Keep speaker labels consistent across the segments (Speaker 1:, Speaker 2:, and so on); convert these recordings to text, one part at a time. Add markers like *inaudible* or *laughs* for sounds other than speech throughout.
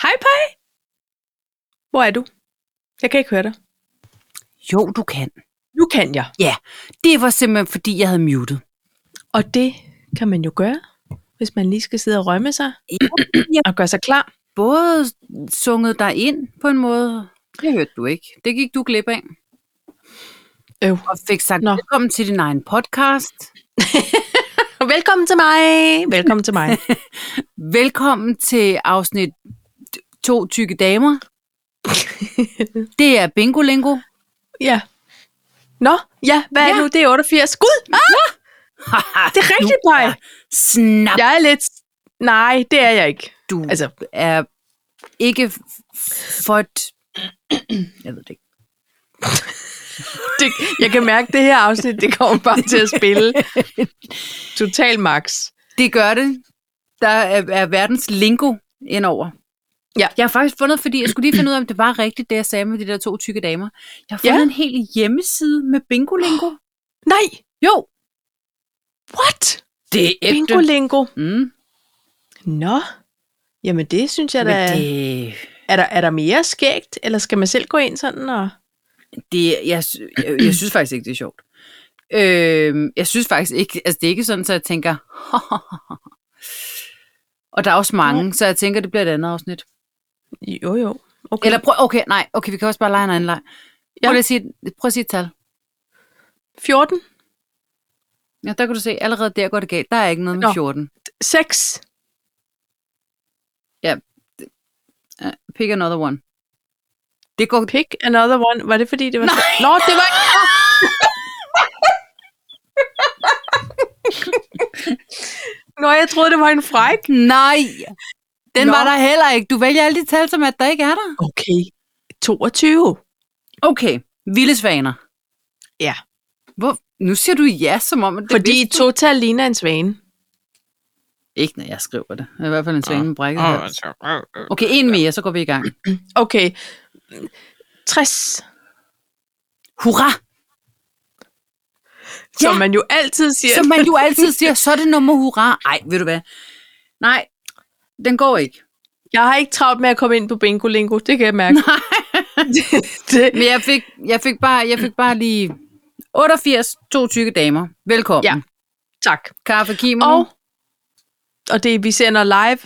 Speaker 1: Pej, pej. Hvor er du? Jeg kan ikke høre dig.
Speaker 2: Jo, du kan.
Speaker 1: Nu kan jeg.
Speaker 2: Det var simpelthen, fordi jeg havde muted.
Speaker 1: Og det kan man jo gøre, hvis man lige skal sidde og rømme sig
Speaker 2: Ja.
Speaker 1: og gøre sig klar.
Speaker 2: Både sunget dig ind på en måde. Det hørte du ikke. Det gik du glip af.
Speaker 1: Øv.
Speaker 2: Og fik sagt
Speaker 1: Nå.
Speaker 2: Nå. velkommen til din egen podcast.
Speaker 1: Velkommen til mig. Velkommen til mig.
Speaker 2: Velkommen til afsnit To tykke
Speaker 1: *laughs*
Speaker 2: damer. det er Bingo Lingo.
Speaker 1: ja. Nå, ja, hvad er
Speaker 2: Ja.
Speaker 1: ja. nu? Det er 88. Gud, det er rigtigt, Pej.
Speaker 2: *laughs* Snap,
Speaker 1: Jeg er lidt... Nej, det er jeg ikke.
Speaker 2: du altså,
Speaker 1: Altså,
Speaker 2: er ikke f- for et... Jeg ved det ikke.
Speaker 1: det, jeg kan mærke, at det her afsnit, det kommer bare til at spille. Total max.
Speaker 2: Det gør det. Der er, er verdens lingo indover.
Speaker 1: Ja.
Speaker 2: Jeg har faktisk fundet, fordi jeg skulle lige finde ud af, om det var rigtigt, det jeg sagde med de der to tykke damer. Jeg har fundet
Speaker 1: Ja.
Speaker 2: en hel hjemmeside med bingo-lingo.
Speaker 1: Nej,
Speaker 2: Jo,
Speaker 1: what?
Speaker 2: det er ægte.
Speaker 1: Bingo lingo.
Speaker 2: Mm.
Speaker 1: Nå, jamen det synes jeg
Speaker 2: Men
Speaker 1: da... Det...
Speaker 2: det,
Speaker 1: Er, der, er der mere skægt, eller skal man selv gå ind sådan og...
Speaker 2: det, jeg, sy- jeg, jeg synes faktisk ikke, det er sjovt. Øh, jeg synes faktisk ikke, altså det er ikke sådan, så jeg tænker, *laughs* og der er også mange, så jeg tænker, det bliver et andet afsnit.
Speaker 1: Jo, jo. Okay.
Speaker 2: Eller prøv, okay, nej, okay, vi kan også bare lege en anden leg. Prøv,
Speaker 1: Ja.
Speaker 2: ja. at sige, prøv at sige et tal.
Speaker 1: 14,
Speaker 2: Ja, der kan du se, allerede der går det galt. Der er ikke noget med
Speaker 1: Nå.
Speaker 2: 14.
Speaker 1: 6,
Speaker 2: Uh, pick another one. Det går...
Speaker 1: pick another one. Var det fordi, det var... Nej. Nå, det var ikke... Nå, jeg troede, det var en fræk.
Speaker 2: Nej! Den
Speaker 1: Nå.
Speaker 2: Nå. var der heller ikke. Du vælger alle de tal, som at der ikke er der.
Speaker 1: Okay. 22.
Speaker 2: Okay, vildesvaner.
Speaker 1: Ja.
Speaker 2: Hvor, nu siger du ja, som om... at Det
Speaker 1: Fordi
Speaker 2: vidste du.
Speaker 1: total ligner en svane.
Speaker 2: Ikke, når jeg skriver det. Det er i hvert fald en svane med brækket.
Speaker 3: Åh,
Speaker 2: hals.
Speaker 3: altså. øh, øh.
Speaker 2: Okay, en mere, så går vi i gang.
Speaker 1: Okay. 60,
Speaker 2: Hurra!
Speaker 1: ja. som
Speaker 2: Ja.
Speaker 1: man jo altid siger.
Speaker 2: Som man jo altid siger, så er det nummer hurra. Ej, ved du hvad? Nej, den går ikke.
Speaker 1: *laughs* Jeg har ikke travlt med at komme ind på Bingo Lingo, det kan jeg mærke. Nej. *laughs* det,
Speaker 2: Men jeg fik, jeg fik, bare, jeg fik bare lige 88, to tykke damer. Velkommen.
Speaker 1: Ja. tak.
Speaker 2: Kaffe Kimono.
Speaker 1: Og, og det vi sender live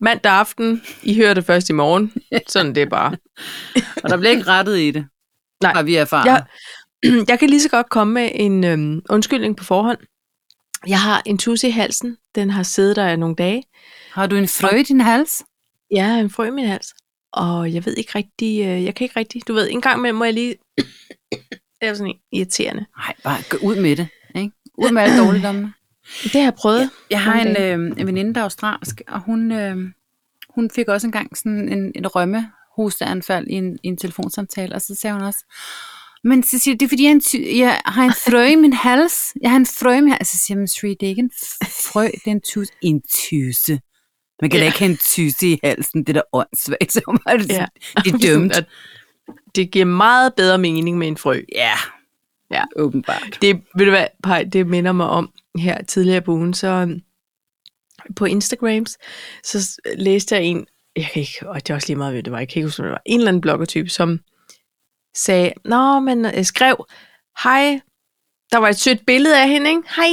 Speaker 1: mandag aften. I hører det først i *laughs* morgen. Sådan det er bare.
Speaker 2: og der bliver ikke rettet i det.
Speaker 1: Nej.
Speaker 2: Har vi erfaret.
Speaker 1: Jeg, *clears throat* jeg kan lige så godt komme med en øhm, undskyldning på forhånd. Jeg har en tusse i halsen. Den har siddet der i nogle dage.
Speaker 2: Har du en frø i din hals?
Speaker 1: Jeg har en frø i min hals. Og jeg ved ikke rigtig, øh, jeg kan ikke rigtig, du ved, en gang imellem må jeg lige, *coughs* det er sådan en irriterende.
Speaker 2: Nej, bare gå ud med det. Ikke? Ud med alle dårligdommene.
Speaker 1: Det har jeg prøvet. Ja.
Speaker 2: Jeg har en,
Speaker 1: Nogle
Speaker 2: øh, en veninde, der er australsk, og hun, øh, hun fik også engang sådan en, en rømme hosteanfald i en, i en telefonsamtale, og så sagde hun også, men så siger jeg, det er fordi, jeg, er en ty- jeg har en frø i min hals. Jeg har en frø i min hals. Så siger man, Sri, det er ikke en frø, det er en tusse. En tusse. Man kan ja. da
Speaker 1: Ja.
Speaker 2: ikke have en tusse i halsen. Det er da åndssvagt. Så hun var det,
Speaker 1: Ja.
Speaker 2: ja. *laughs* det er dømt.
Speaker 1: At Det giver meget bedre mening med en frø.
Speaker 2: Ja.
Speaker 1: Ja.
Speaker 2: åbenbart.
Speaker 1: Det, ved du hvad, Paj, det minder mig om her tidligere på ugen, så øhm, på Instagrams, så s- læste jeg en, jeg kan ikke, og det er også lige meget, hvad det var, jeg kan ikke huske, hvad det var, en eller anden bloggertype, som sagde, nå, men øh, skrev, hej, der var et sødt billede af hende, ikke? Hej,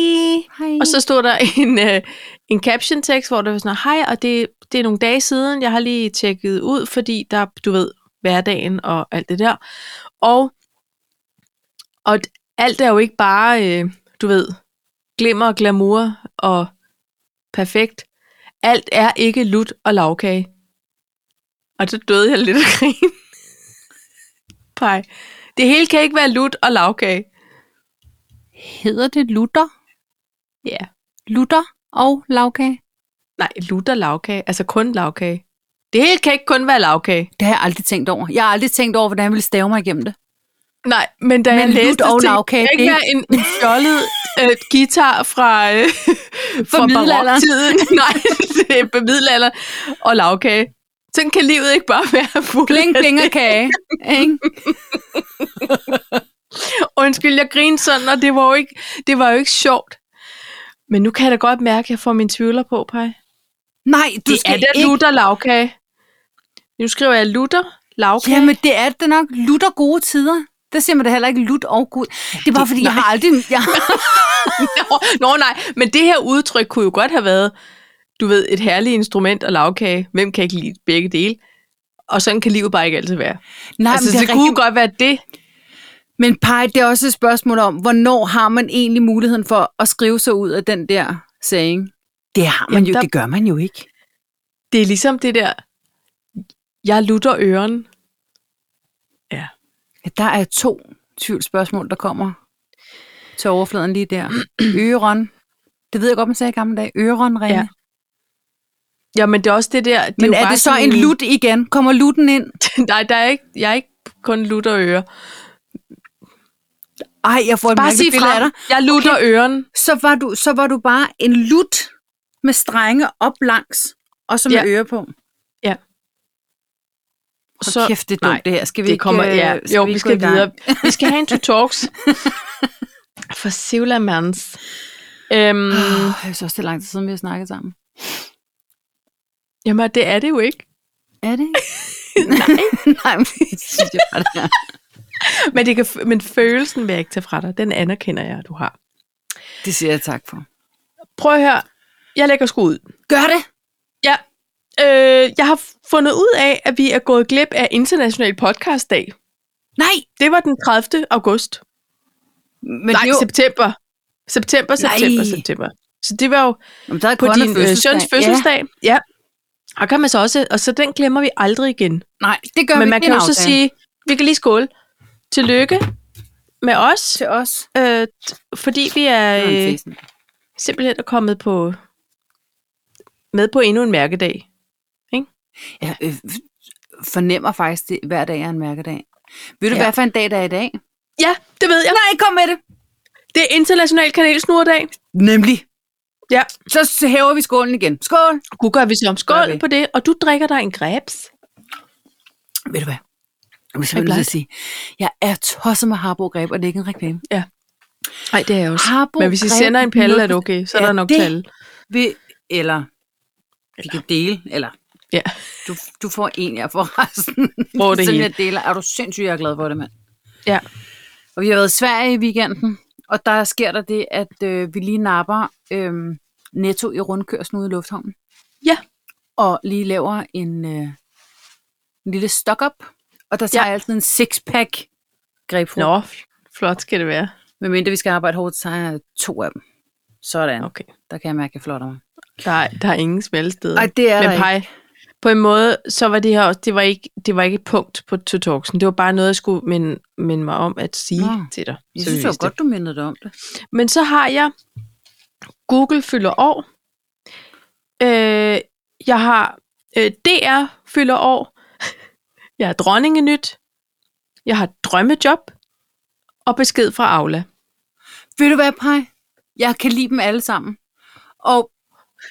Speaker 2: Hej.
Speaker 1: og så stod der en, øh, en caption tekst, hvor der var sådan, hej, og det, det er nogle dage siden, jeg har lige tjekket ud, fordi der, du ved, hverdagen og alt det der. Og, og d- alt er jo ikke bare, øh, du ved, glimmer og glamour og perfekt. Alt er ikke lut og lavkage. Og så døde jeg lidt af grin. *laughs* Pej. Det hele kan ikke være lut og lavkage.
Speaker 2: hedder det lutter?
Speaker 1: Ja. Yeah.
Speaker 2: Lutter og lavkage?
Speaker 1: Nej, lutter lavkage. Altså kun lavkage. Det hele kan ikke kun være lavkage.
Speaker 2: Det har jeg aldrig tænkt over. Jeg har aldrig tænkt over, hvordan jeg ville stave mig igennem det.
Speaker 1: Nej, men da
Speaker 2: Men
Speaker 1: jeg
Speaker 2: lut
Speaker 1: læste
Speaker 2: og
Speaker 1: det,
Speaker 2: lagkage,
Speaker 1: det kan ikke
Speaker 2: det-
Speaker 1: være en en fjollet øh, guitar fra, øh, *laughs* fra
Speaker 2: middelalderen.
Speaker 1: baroktiden. *laughs* Nej, det er på middelalderen og lavkage. Sådan kan livet ikke bare være *laughs* fuld.
Speaker 2: Bling,
Speaker 1: af
Speaker 2: bling og
Speaker 1: det.
Speaker 2: kage. Ikke?
Speaker 1: Undskyld, jeg grinede sådan, og det var, jo ikke, det var jo ikke sjovt. Men nu kan jeg da godt mærke, at jeg får mine tvivler på, Paj.
Speaker 2: Nej, du
Speaker 1: Det
Speaker 2: skal
Speaker 1: er da
Speaker 2: ikke.
Speaker 1: lutter lavkage. Nu skriver jeg lutter, lavkage.
Speaker 2: Okay. Jamen, det er det nok. Lutter gode tider. Der siger man da heller ikke lut og gud. Det Altså, er bare, fordi jeg har aldrig... Jeg, *laughs*
Speaker 1: Nå, nå nej, men det her udtryk kunne jo godt have været, du ved, et herligt instrument og lavkage. Hvem kan ikke lide begge dele? Og sådan kan livet bare ikke altid være.
Speaker 2: nej,
Speaker 1: altså,
Speaker 2: men, det
Speaker 1: det, det
Speaker 2: er
Speaker 1: kunne godt være det.
Speaker 2: men pej, det er også et spørgsmål om, hvornår har man egentlig muligheden for at skrive sig ud af den der saying? Det har man
Speaker 1: Jamen,
Speaker 2: jo,
Speaker 1: der-
Speaker 2: det gør man jo ikke.
Speaker 1: Det er ligesom det der, jeg lutter øren. Ja.
Speaker 2: Ja, der er to tvivlsspørgsmål, der kommer til overfladen lige der. *clears throat* Øron. Det ved jeg godt, man sagde i gamle dage. Øron ringe.
Speaker 1: Ja, Ja, men det er også det der... Det
Speaker 2: Men
Speaker 1: jo
Speaker 2: er
Speaker 1: bare
Speaker 2: det så
Speaker 1: sådan
Speaker 2: en lut igen? Kommer lutten ind?
Speaker 1: *laughs* Nej, der er ikke, jeg er ikke kun lutter øre.
Speaker 2: Ej, jeg får et
Speaker 1: Bare sig
Speaker 2: mærkeligt billede af
Speaker 1: fra,
Speaker 2: dig.
Speaker 1: jeg lutter okay. øren.
Speaker 2: Så var, du, så var du bare en lut med strenge op langs, og så med
Speaker 1: Ja.
Speaker 2: ja. øre på. Så, kæft, det er dumt,
Speaker 1: nej,
Speaker 2: det her. Skal vi
Speaker 1: det
Speaker 2: ikke,
Speaker 1: kommer,
Speaker 2: øh,
Speaker 1: ja. Jo, vi,
Speaker 2: ikke
Speaker 1: skal
Speaker 2: gå i gang?
Speaker 1: videre. Vi skal
Speaker 2: *laughs*
Speaker 1: have en to talks. For Sivla Mans. Øhm,
Speaker 2: Åh, jeg synes også, det er lang tid siden, vi har snakket sammen.
Speaker 1: jamen, det er det jo ikke.
Speaker 2: Er det *laughs* Nej. *laughs* Nej, men det synes jeg bare, det er.
Speaker 1: Men, det kan, f- men følelsen vil jeg ikke tage fra dig. Den anerkender jeg, at du har.
Speaker 2: Det siger jeg tak for.
Speaker 1: Prøv at høre. Jeg lægger sgu ud.
Speaker 2: Gør det!
Speaker 1: Ja. Øh, jeg har fundet ud af, at vi er gået glip af International Podcastdag.
Speaker 2: Nej!
Speaker 1: Det var den 30. august.
Speaker 2: Men
Speaker 1: Men Nej,
Speaker 2: det er jo...
Speaker 1: september. September, september,
Speaker 2: Nej.
Speaker 1: september. Så det var jo
Speaker 2: Jamen, der er
Speaker 1: på
Speaker 2: Conor
Speaker 1: din øh, søns fødselsdag. Ja. ja. Og kan man så også, og så den glemmer vi aldrig igen.
Speaker 2: Ja. Nej, det gør
Speaker 1: Men
Speaker 2: vi
Speaker 1: man
Speaker 2: Det
Speaker 1: kan
Speaker 2: er en
Speaker 1: jo så
Speaker 2: aftale.
Speaker 1: sige, vi kan lige skåle. Tillykke med os,
Speaker 2: til os.
Speaker 1: øh, t- fordi vi er øh, simpelthen er kommet på med på endnu en mærkedag.
Speaker 2: Jeg øh, fornemmer faktisk, at hver dag er en mærkedag. Ved du,
Speaker 1: Ja.
Speaker 2: ja. hvad for en dag der er i dag?
Speaker 1: Ja, det ved jeg.
Speaker 2: Nej, kom med det!
Speaker 1: Det er International Kanelsnurredag.
Speaker 2: Nemlig.
Speaker 1: Ja,
Speaker 2: Så hæver vi skålen igen. Skål!
Speaker 1: kunne gøre vi så om skål
Speaker 2: vi.
Speaker 1: på det, og du drikker dig en grebs.
Speaker 2: Ved du hvad? Jeg vil simpelthen nødt til at sige, jeg er tosset med Harbo Greb, og det er ikke en reklame.
Speaker 1: Nej, det er jeg også.
Speaker 2: Harbo
Speaker 1: Men hvis I
Speaker 2: Greb
Speaker 1: sender en palle, er det
Speaker 2: 0%.
Speaker 1: okay. Så er
Speaker 2: Ja,
Speaker 1: der nok
Speaker 2: det-
Speaker 1: til alle.
Speaker 2: Vi, eller, vi kan dele, eller
Speaker 1: Ja.
Speaker 2: du, du får en, jeg får resten.
Speaker 1: Hvor
Speaker 2: *laughs*
Speaker 1: det
Speaker 2: Som
Speaker 1: hele.
Speaker 2: jeg deler. Er du sindssygt, jeg er glad for det, mand.
Speaker 1: Ja.
Speaker 2: Og vi har været i Sverige i weekenden, og der sker der det, at øh, vi lige napper øh, netto i rundkørslen ude i lufthavnen.
Speaker 1: Ja.
Speaker 2: Og lige laver en, øh, en lille stock-up, og der tager
Speaker 1: Ja.
Speaker 2: jeg altid en six-pack grapefruit.
Speaker 1: Nå, flot skal det være.
Speaker 2: Medmindre vi skal arbejde hårdt, så tager jeg to af dem. Sådan.
Speaker 1: Okay.
Speaker 2: Der kan jeg mærke, at jeg flotter mig.
Speaker 1: Der er, der er ingen smeltsteder.
Speaker 2: Ej, det er der
Speaker 1: Men
Speaker 2: ikke.
Speaker 1: pej, på en måde, så var det her også, det var ikke, det var ikke et punkt på to talksen. Det var bare noget, jeg skulle minde, minde mig om at sige
Speaker 2: Nå.
Speaker 1: til dig.
Speaker 2: Jeg
Speaker 1: så
Speaker 2: synes
Speaker 1: vi
Speaker 2: jo
Speaker 1: vidste
Speaker 2: godt, du mindede dig om det.
Speaker 1: det. Men så har jeg, Google fylder år. Øh, jeg har, øh, DR fylder år. Jeg har dronningenyt. Jeg har drømmejob. Og besked fra Aula.
Speaker 2: Ved du hvad, Paj? Jeg kan lide dem alle sammen. Og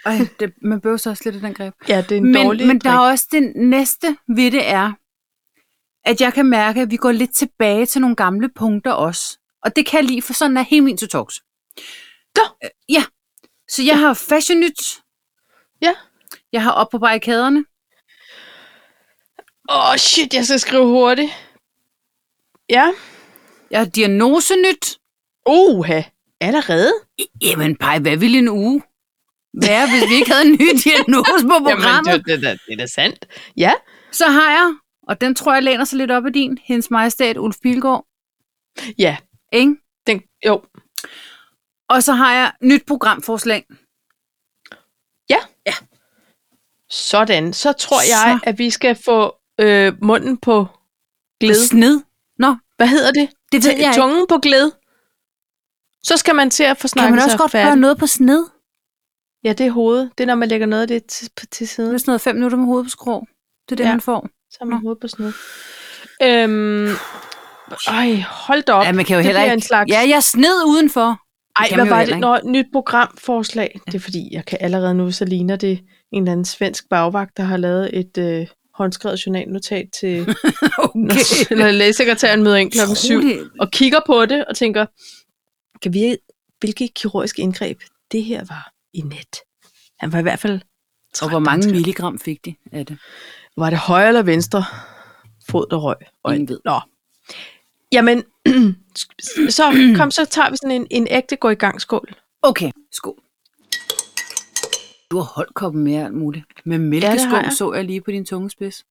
Speaker 2: Ej, det, man bøver så også lidt af den greb.
Speaker 1: Ja, det er en
Speaker 2: Men,
Speaker 1: dårlig
Speaker 2: men der er
Speaker 1: drik.
Speaker 2: også det næste ved det er, at jeg kan mærke, at vi går lidt tilbage til nogle gamle punkter også. Og det kan jeg lide, for sådan er hele min to talks.
Speaker 1: Nå.
Speaker 2: Øh, Ja. Så jeg ja. har fashion nyt.
Speaker 1: Ja.
Speaker 2: Jeg har op på barrikaderne.
Speaker 1: Åh, oh, shit, jeg skal skrive hurtigt. Ja.
Speaker 2: Jeg har diagnose nyt.
Speaker 1: Oha, allerede?
Speaker 2: Jamen, Paj, hvad ville en uge være, hvis vi ikke havde en ny *laughs* diagnose på programmet?
Speaker 1: Jamen, det, det, det, det er da sandt. Ja.
Speaker 2: Så har jeg, og den tror jeg læner sig lidt op af din, hendes majestæt Ulf Pilgaard,
Speaker 1: Ja.
Speaker 2: ikke?
Speaker 1: Den, jo.
Speaker 2: Og så har jeg nyt programforslag.
Speaker 1: Sådan. Så tror
Speaker 2: Så.
Speaker 1: jeg, at vi skal få øh, munden på glæde.
Speaker 2: Sned. Nå,
Speaker 1: Hvad hedder det?
Speaker 2: det ved
Speaker 1: T-
Speaker 2: jeg ikke.
Speaker 1: Tungen på glæde. Så skal man til at få snakket
Speaker 2: Kan man også
Speaker 1: sig
Speaker 2: godt
Speaker 1: færdig.
Speaker 2: gøre noget på sned?
Speaker 1: Ja, det er hovedet. Det er, når man lægger noget af det til, på- til
Speaker 2: Det er
Speaker 1: siden.
Speaker 2: sådan noget fem minutter med hovedet på skrå. Det er det,
Speaker 1: Ja.
Speaker 2: ja. man får.
Speaker 1: Så er man hovedet på sådan noget. Øhm, ej, hold da op.
Speaker 2: Ja, man kan jo
Speaker 1: det
Speaker 2: heller
Speaker 1: bliver
Speaker 2: ikke...
Speaker 1: en slags...
Speaker 2: Ja, jeg sned udenfor.
Speaker 1: Ej,
Speaker 2: kan
Speaker 1: hvad
Speaker 2: man jo
Speaker 1: var
Speaker 2: heller
Speaker 1: det? Nå, nyt programforslag. Det er fordi, jeg kan allerede nu, så ligner det en eller anden svensk bagvagt, der har lavet et øh, håndskrevet journalnotat til,
Speaker 2: *laughs*
Speaker 1: når, når lægesekretæren møder ind *laughs* klokken syv,
Speaker 2: Utroligt.
Speaker 1: og kigger på det og tænker, kan vi, hvilke kirurgiske indgreb det her var i net? Han var i hvert fald
Speaker 2: Og hvor mange milligram fik de af det?
Speaker 1: Var det højre eller venstre fod, der røg? Og
Speaker 2: Ingen ved.
Speaker 1: Nå. Jamen, *clears throat*
Speaker 2: *clears throat*
Speaker 1: så kom, så tager vi sådan en, en ægte gå i gang skål.
Speaker 2: Okay, skål. Du har holdt koppen med alt muligt. Med mælkeskum ja,
Speaker 1: jeg.
Speaker 2: så jeg lige på din tungespids.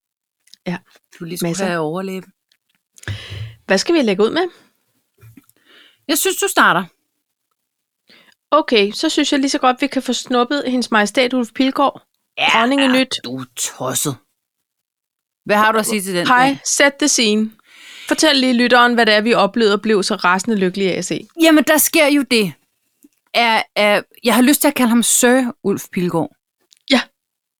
Speaker 1: Ja,
Speaker 2: Du lige
Speaker 1: masser.
Speaker 2: skulle Masser. have overlæbe.
Speaker 1: Hvad skal vi lægge ud med?
Speaker 2: Jeg synes, du starter.
Speaker 1: Okay, så synes jeg lige så godt, vi kan få snuppet hendes majestæt Ulf Pilgaard. Ja, Dronninge nyt.
Speaker 2: Du er tosset. Hvad har du at sige til den?
Speaker 1: Hej, sæt det scene. Fortæl lige lytteren, hvad det er, vi oplevede og blev så rasende lykkelige af at se.
Speaker 2: Jamen, der sker jo det. Er, er, jeg har lyst til at kalde ham Sir Ulf Pilgaard.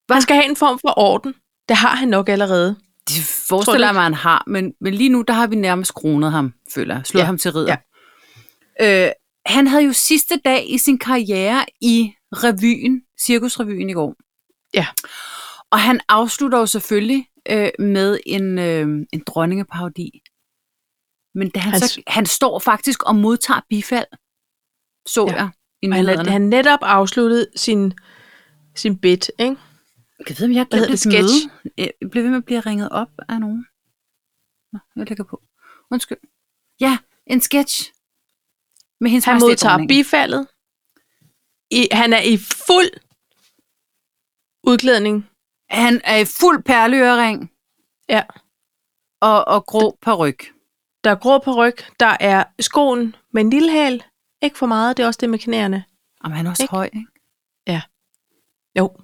Speaker 1: Man skal have en form for orden. Det har han nok allerede.
Speaker 2: Det
Speaker 1: Tror du
Speaker 2: forestiller
Speaker 1: ikke?
Speaker 2: jeg mig, han har, men, men lige nu, der har vi nærmest kronet ham, føler jeg. Slået
Speaker 1: Ja,
Speaker 2: ham til ridder. Ja. Øh, han havde jo sidste dag i sin karriere i revyen, Cirkusrevyen i går.
Speaker 1: Ja.
Speaker 2: Og han afslutter jo selvfølgelig øh, med en, øh, en dronningeparodi. Men da han,
Speaker 1: Han
Speaker 2: han,
Speaker 1: s-
Speaker 2: så, han står faktisk og modtager bifald, så
Speaker 1: Ja.
Speaker 2: ja. jeg i
Speaker 1: Og han, er-
Speaker 2: nyhederne.
Speaker 1: han netop afsluttet sin, sin bit, ikke?
Speaker 2: Jeg ved, om jeg har
Speaker 1: Hvad
Speaker 2: glemt et
Speaker 1: hedder det? Sketch?
Speaker 2: sketch. møde. Jeg bliver ved med at blive ringet op af nogen. Nå, jeg lægger på. Undskyld. Ja, en sketch. Med hendes
Speaker 1: Han
Speaker 2: majestæt
Speaker 1: modtager
Speaker 2: dronningen.
Speaker 1: bifaldet. I, han er i fuld udklædning.
Speaker 2: Han er i fuld perleøring
Speaker 1: Ja.
Speaker 2: og, og grå paryk.
Speaker 1: Der er grå på ryg, der er skoen med en lille hæl. Ikke for meget, det er også det med knæerne.
Speaker 2: Og han er også
Speaker 1: Ikke?
Speaker 2: ikke? høj, ikke?
Speaker 1: Jo,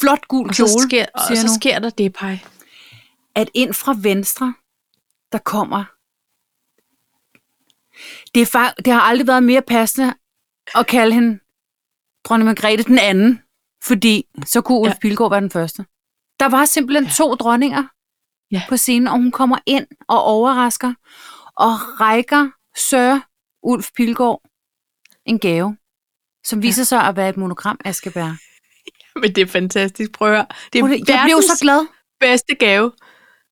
Speaker 2: Flot gul
Speaker 1: og
Speaker 2: kjole,
Speaker 1: så sker, og
Speaker 2: siger jeg
Speaker 1: så
Speaker 2: nu.
Speaker 1: sker der det, Paj. *laughs*
Speaker 2: At ind fra venstre, der kommer... Det, er fa- det har aldrig været mere passende at kalde hende dronning Margrethe den anden, fordi så kunne Ulf
Speaker 1: Ja.
Speaker 2: ja. Pilgaard være den første. Der var simpelthen ja. to dronninger
Speaker 1: Ja.
Speaker 2: ja. på scenen, og hun kommer ind og overrasker og rækker Sir Ulf Pilgaard en gave, som viser sig at være et monogram Askebær.
Speaker 1: Men det er fantastisk, prøv at høre. Det er
Speaker 2: Jeg blev så glad.
Speaker 1: bedste gave.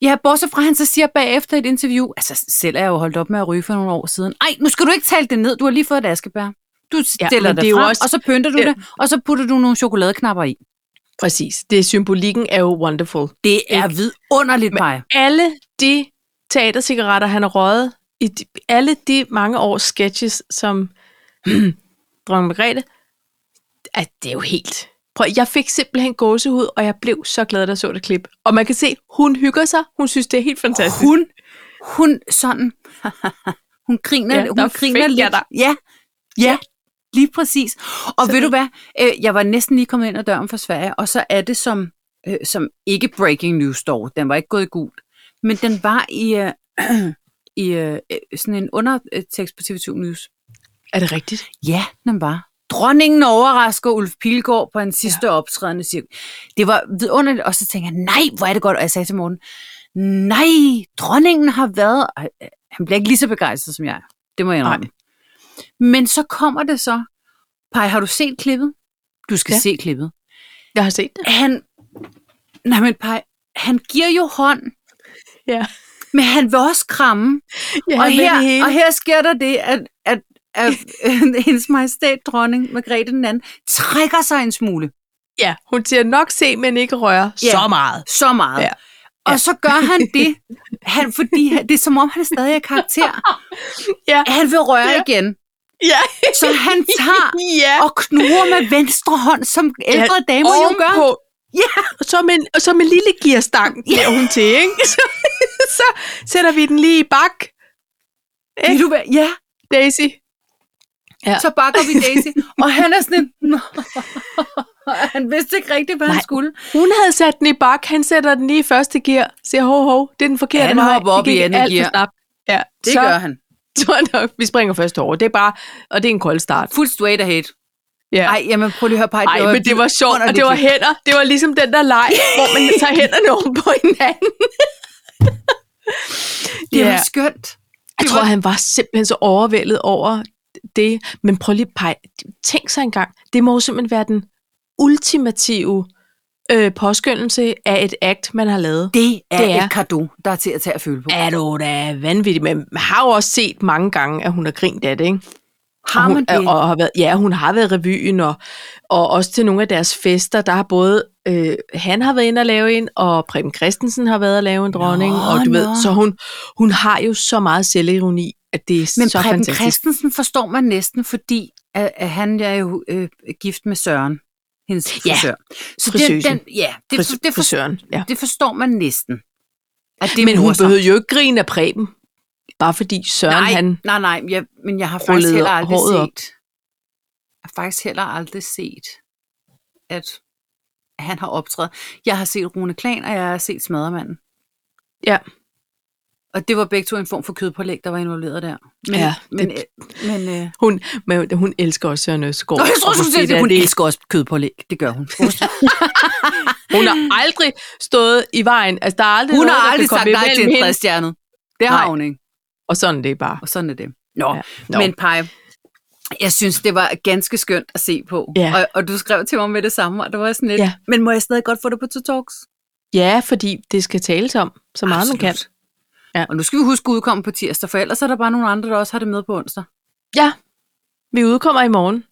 Speaker 2: Ja, bortset fra, at han så siger bagefter i et interview, altså selv er jeg jo holdt op med at ryge for nogle år siden. Ej, nu skal du ikke tale det ned, du har lige fået et askebær. Du stiller
Speaker 1: men
Speaker 2: ja, det,
Speaker 1: det er
Speaker 2: det
Speaker 1: jo
Speaker 2: frem,
Speaker 1: også-
Speaker 2: også, og så pynter du
Speaker 1: Ja.
Speaker 2: det, og så putter du nogle chokoladeknapper i.
Speaker 1: Præcis. Det er symbolikken er jo wonderful.
Speaker 2: Det er vidunderligt, Maja.
Speaker 1: Alle de teatercigaretter, han har røget, i de, alle de mange års sketches, som *clears throat* dronning Margrethe, at det er jo helt... Prøv, jeg fik simpelthen gåsehud, og jeg blev så glad, da jeg så det klip. Og man kan se, hun hygger sig. Hun synes, det er helt fantastisk.
Speaker 2: Hun, hun sådan, *laughs* hun griner,
Speaker 1: Ja,
Speaker 2: ja,
Speaker 1: der
Speaker 2: hun griner
Speaker 1: fik jeg
Speaker 2: lidt.
Speaker 1: dig.
Speaker 2: Ja, ja, lige præcis. Og
Speaker 1: Så
Speaker 2: så ved
Speaker 1: det-
Speaker 2: du hvad, Øh, jeg var næsten lige kommet ind ad døren fra Sverige, og så er det som, øh, som ikke breaking news dog, den var ikke gået i gul, men den var i, øh, *clears throat* i øh, sådan en undertekst på TV2 News.
Speaker 1: Er det rigtigt?
Speaker 2: Ja, den var. Dronningen overrasker Ulf Pilgaard på hans sidste ja. optrædende cirkus. Det var vidunderligt, og så tænkte jeg, nej, hvor er det godt, og jeg sagde til Morten, nej, dronningen har været, og øh, han bliver ikke lige så begejstret som jeg. er. Det må jeg indrømme. Men så kommer det så, Pej, har du set klippet? Du skal
Speaker 1: Ja.
Speaker 2: ja. se klippet.
Speaker 1: Jeg har set det.
Speaker 2: Han, nej men Pej, han giver jo hånd,
Speaker 1: Ja.
Speaker 2: men han vil også kramme.
Speaker 1: ja
Speaker 2: Og
Speaker 1: men det
Speaker 2: her,
Speaker 1: hele.
Speaker 2: og her sker der det, at, at, at *laughs* hendes majestæt dronning Margrethe den anden trækker sig en smule.
Speaker 1: Ja, hun siger nok se, men ikke røre.
Speaker 2: Ja.
Speaker 1: Så meget.
Speaker 2: Så meget.
Speaker 1: Ja.
Speaker 2: Ja. Og så gør han det, han, fordi han, det er som om, han er stadig er karakter.
Speaker 1: *laughs* Ja.
Speaker 2: Han vil røre
Speaker 1: Ja.
Speaker 2: ja. igen.
Speaker 1: Ja. *laughs*
Speaker 2: Så han tager
Speaker 1: ja.
Speaker 2: og knuger med venstre hånd, som ældre ja. damer jo gør.
Speaker 1: ovenpå.
Speaker 2: Ja.
Speaker 1: Og som en, og som en lille gearstang bliver hun til, *laughs* ikke? Så, så sætter vi den lige i bak,
Speaker 2: Ved du hvad? Ja,
Speaker 1: Daisy. Ja.
Speaker 2: så bakker vi Daisy. Og han er sådan en...
Speaker 1: *laughs*
Speaker 2: "Nå." Han vidste ikke rigtigt, hvad Nej.
Speaker 1: Nej.
Speaker 2: han skulle.
Speaker 1: Hun havde sat den i bak, han sætter den lige i første gear, siger hov, hov, det er den forkerte
Speaker 2: Han
Speaker 1: vej.
Speaker 2: hopper
Speaker 1: Det
Speaker 2: op i
Speaker 1: gik
Speaker 2: andet
Speaker 1: alt for
Speaker 2: gear.
Speaker 1: snabt. Ja, så,
Speaker 2: Det så. gør
Speaker 1: *laughs*
Speaker 2: han.
Speaker 1: tror jeg nok, vi springer først over. Det er bare, og det er en kold start.
Speaker 2: Fuld straight ahead.
Speaker 1: Ja.
Speaker 2: Ej, jamen prøv lige at høre, Paj.
Speaker 1: Ej, men det var sjovt, og det var hænder. Det var ligesom den der leg, hvor man tager hænderne oven på hinanden.
Speaker 2: Det
Speaker 1: *laughs* Ja.
Speaker 2: var skønt.
Speaker 1: Jeg tror, han var simpelthen så overvældet over det. Men prøv lige at pege. Tænk sig engang. Det må jo simpelthen være den ultimative øh, påskyndelse af et akt, man har lavet.
Speaker 2: Det er,
Speaker 1: Det er-
Speaker 2: et kado, der er til at tage at føle på.
Speaker 1: er du da vanvittig, men man har jo også set mange gange, at hun har grint af det, ikke?
Speaker 2: Har
Speaker 1: Og
Speaker 2: man
Speaker 1: hun,
Speaker 2: det?
Speaker 1: Og, og har været, ja, hun har været i revyen, og, og også til nogle af deres fester, der har både, øh, han har været inde og lave en, og Preben Christensen har været og lave en dronning,
Speaker 2: Nå,
Speaker 1: og du ved,
Speaker 2: nå.
Speaker 1: så hun, hun har jo så meget selvironi, at det er
Speaker 2: Men
Speaker 1: så
Speaker 2: Preben
Speaker 1: fantastisk.
Speaker 2: Christensen forstår man næsten, fordi at, at han er jo øh, gift med Søren, hendes
Speaker 1: Ja,
Speaker 2: frisør. Så den,
Speaker 1: frisøsen.
Speaker 2: den, ja, det,
Speaker 1: Fris-
Speaker 2: det, for,
Speaker 1: frisøren, ja.
Speaker 2: det forstår man næsten. At det er
Speaker 1: Men hun
Speaker 2: morsomt.
Speaker 1: behøvede jo ikke grine af Preben, bare fordi Søren,
Speaker 2: nej,
Speaker 1: han...
Speaker 2: Nej, nej, jeg, men jeg har faktisk
Speaker 1: rullede
Speaker 2: heller aldrig
Speaker 1: håret
Speaker 2: set...
Speaker 1: op.
Speaker 2: Jeg har faktisk heller aldrig set, at han har optrådt. Jeg har set Rune Klan, og jeg har set Smadermanden.
Speaker 1: Ja.
Speaker 2: Og det var begge to en form for kødpålæg, der var involveret der. Men,
Speaker 1: Ja,
Speaker 2: men,
Speaker 1: det-
Speaker 2: øh, men, øh,
Speaker 1: Hun, men hun elsker også Søren Østergaard.
Speaker 2: Nå, jeg tror,
Speaker 1: og
Speaker 2: du
Speaker 1: måske
Speaker 2: siger,
Speaker 1: er
Speaker 2: at hun elsker også kødpålæg. Det gør
Speaker 1: *laughs*
Speaker 2: hun.
Speaker 1: Hun har aldrig stået i vejen. Altså, der er aldrig
Speaker 2: Hun
Speaker 1: noget,
Speaker 2: har
Speaker 1: der
Speaker 2: aldrig
Speaker 1: kan
Speaker 2: sagt
Speaker 1: komme
Speaker 2: nej til
Speaker 1: imellem
Speaker 2: en
Speaker 1: hende.
Speaker 2: træstjernet. Det har
Speaker 1: Nej.
Speaker 2: hun ikke.
Speaker 1: Og sådan er det bare.
Speaker 2: Og sådan er det. Nå,
Speaker 1: Ja.
Speaker 2: Nå. men Paj, jeg synes, det var ganske skønt at se på.
Speaker 1: Ja.
Speaker 2: Og, og du skrev til mig med det samme, og det var sådan lidt,
Speaker 1: Ja.
Speaker 2: men må jeg stadig godt få det på to talks?
Speaker 1: ja, fordi det skal tales om, så meget man kan.
Speaker 2: Ja.
Speaker 1: Ja.
Speaker 2: Og nu skal vi huske at udkomme på tirsdag, for ellers er der bare nogle andre, der også har det med på onsdag.
Speaker 1: Ja, vi udkommer i morgen.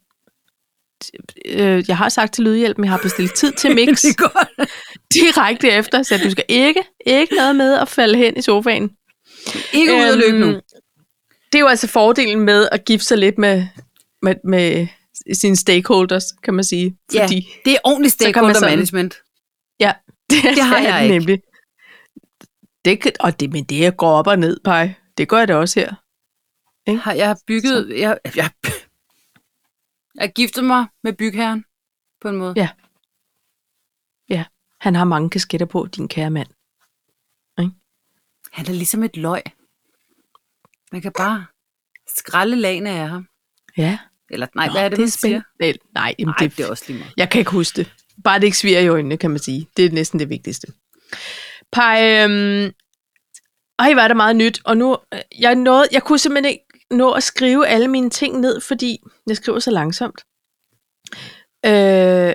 Speaker 1: Øh, Jeg har sagt til Lydhjælp, men jeg har bestilt tid til
Speaker 2: *laughs*
Speaker 1: mix
Speaker 2: godt.
Speaker 1: direkte efter, så du skal ikke, ikke noget med at falde hen i sofaen.
Speaker 2: Ikke ud og løbe nu.
Speaker 1: Øhm, Det er jo altså fordelen med at give sig lidt med, med, med sine stakeholders, kan man sige.
Speaker 2: Ja.
Speaker 1: Fordi,
Speaker 2: Det er ordentligt
Speaker 1: man
Speaker 2: stakeholder
Speaker 1: sådan-
Speaker 2: management.
Speaker 1: ja, det,
Speaker 2: *laughs* Det har
Speaker 1: er
Speaker 2: jeg
Speaker 1: det
Speaker 2: ikke.
Speaker 1: Nemlig. Det kan, og det, men det går op og ned, Paj. Det gør jeg da også her.
Speaker 2: Har jeg har bygget... Jeg, jeg, jeg har giftet mig med bygherren, på en måde.
Speaker 1: Ja. Han har mange kasketter på, din kære mand.
Speaker 2: Han er ligesom et løg. Man kan bare skrælle lagene af ham.
Speaker 1: Ja.
Speaker 2: Eller nej, Nå, hvad er det, det man siger?
Speaker 1: Nej, nej jamen,
Speaker 2: Nej,
Speaker 1: det,
Speaker 2: det er også lige meget.
Speaker 1: Jeg kan ikke huske det. Bare det ikke sviger i øjnene, kan man sige. Det er næsten det vigtigste. Pej, øhm, ej, var der meget nyt. Og nu, øh, jeg, nåede, jeg kunne simpelthen ikke nå at skrive alle mine ting ned, fordi jeg skriver så langsomt. Øh,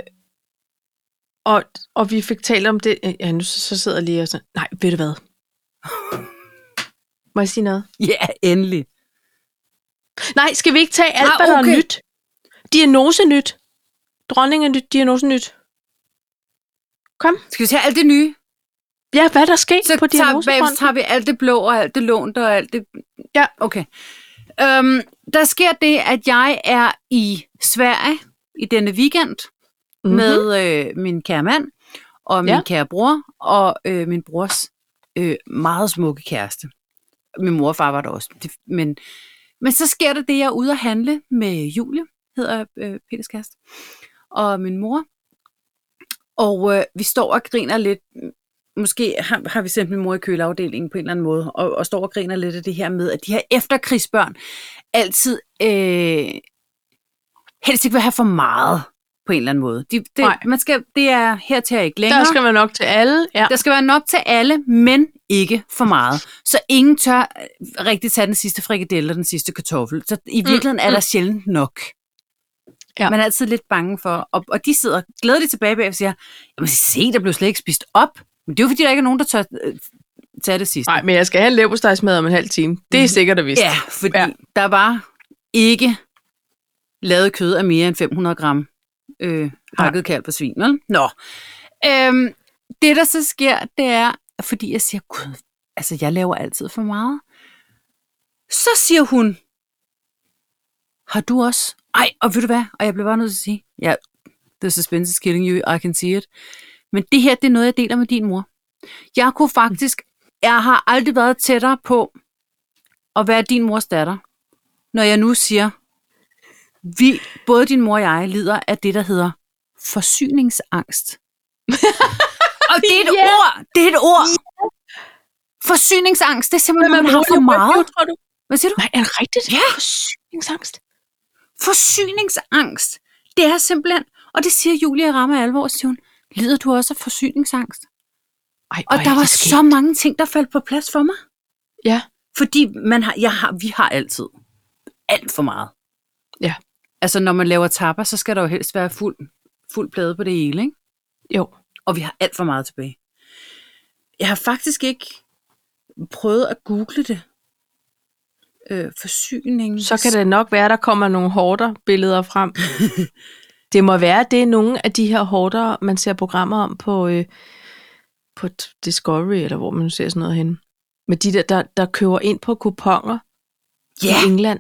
Speaker 1: og, og vi fik talt om det. Øh, Ja, nu så, så sidder jeg lige og sådan, nej, ved du hvad? Må jeg sige noget?
Speaker 2: Ja, endelig.
Speaker 1: Nej, skal vi ikke tage alt,
Speaker 2: Nej,
Speaker 1: hvad der
Speaker 2: okay.
Speaker 1: er nyt? Diagnose nyt. Dronning er nyt, diagnose nyt. Kom.
Speaker 2: Skal vi tage alt det nye?
Speaker 1: Ja, hvad er der sket
Speaker 2: Så
Speaker 1: på
Speaker 2: tager, bagefter
Speaker 1: diagnosefronten?
Speaker 2: tager vi alt det blå og alt det lånt og alt det...
Speaker 1: Ja.
Speaker 2: Okay. Øhm, der sker det, at jeg er i Sverige i denne weekend mm-hmm.
Speaker 1: Mhm.
Speaker 2: med øh, min kære mand og min ja.
Speaker 1: Ja.
Speaker 2: kære bror og øh, min brors øh, meget smukke kæreste. Min mor og far var der også. Det, men, men så sker der det, jeg er ude at handle med Julie, hedder øh, Peters kæreste, og min mor. Og øh, vi står og griner lidt. Måske har, har vi sendt min mor i køleafdelingen på en eller anden måde, og, og står og griner lidt af det her med, at de her efterkrigsbørn altid øh, helst ikke vil have for meget på en eller anden måde. De, det,
Speaker 1: Nej.
Speaker 2: man skal, det er her til ikke længere.
Speaker 1: Der skal man nok til alle. Ja.
Speaker 2: Der skal være nok til alle, men ikke for meget. Så ingen tør øh, rigtig tage den sidste frikadelle og den sidste kartoffel. Så i virkeligheden er der sjældent nok.
Speaker 1: Mm, Ja.
Speaker 2: Man er altid lidt bange for, og, og de sidder glædeligt tilbage bag og siger, jamen se, der blev slet ikke spist op. Men det er jo fordi, der ikke er nogen, der tør øh, tage det sidste.
Speaker 1: Nej, men jeg skal have en leverpostejsmad om en halv time. Det er sikkert at vist.
Speaker 2: Ja, fordi ja.
Speaker 1: Mhm. Ja.
Speaker 2: der var ikke lavet kød af mere end 500 gram øh, hakket kalv på svin, vel? Nå. Øhm, det, der så sker, det er, fordi jeg siger, gud, altså jeg laver altid for meget. Så siger hun, har du også? Ej, og ved du hvad? Og jeg blev bare nødt til at sige, ja, yeah, the suspense is killing you, I can see it. Men det her, det er noget, jeg deler med din mor. Jeg kunne faktisk, jeg har aldrig været tættere på, at være din mors datter, når jeg nu siger, vi, både din mor og jeg lider af det, der hedder
Speaker 1: *laughs*
Speaker 2: forsyningsangst. og det er et
Speaker 1: Ja.
Speaker 2: ord! Det er et ord! Forsyningsangst, det er simpelthen, når man har for meget.
Speaker 1: Tror du?
Speaker 2: Hvad siger du?
Speaker 1: Nej, er det rigtigt?
Speaker 2: Ja.
Speaker 1: Forsyningsangst.
Speaker 2: Forsyningsangst, det er simpelthen, og det siger Julia Rammer alvor, siger hun, lider du også af forsyningsangst?
Speaker 1: Ej,
Speaker 2: Og
Speaker 1: hvor
Speaker 2: der
Speaker 1: er
Speaker 2: var
Speaker 1: det skægt.
Speaker 2: så mange ting, der faldt på plads for mig.
Speaker 1: Ja.
Speaker 2: Fordi man har, jeg har, vi har altid alt for meget.
Speaker 1: Ja.
Speaker 2: Altså, når man laver tapper, så skal der jo helst være fuld, fuld plade på det hele, ikke?
Speaker 1: Jo.
Speaker 2: Og vi har alt for meget tilbage. Jeg har faktisk ikke prøvet at google det. øh, forsyning.
Speaker 1: Så kan det nok være, der kommer nogle hårder billeder *laughs* frem. det må være, det er nogle af de her hårder, man ser programmer om på, øh, på t- Discovery, eller hvor man nu ser sådan noget henne. Med de der, der, der køber ind på kuponer
Speaker 2: Ja,
Speaker 1: i England,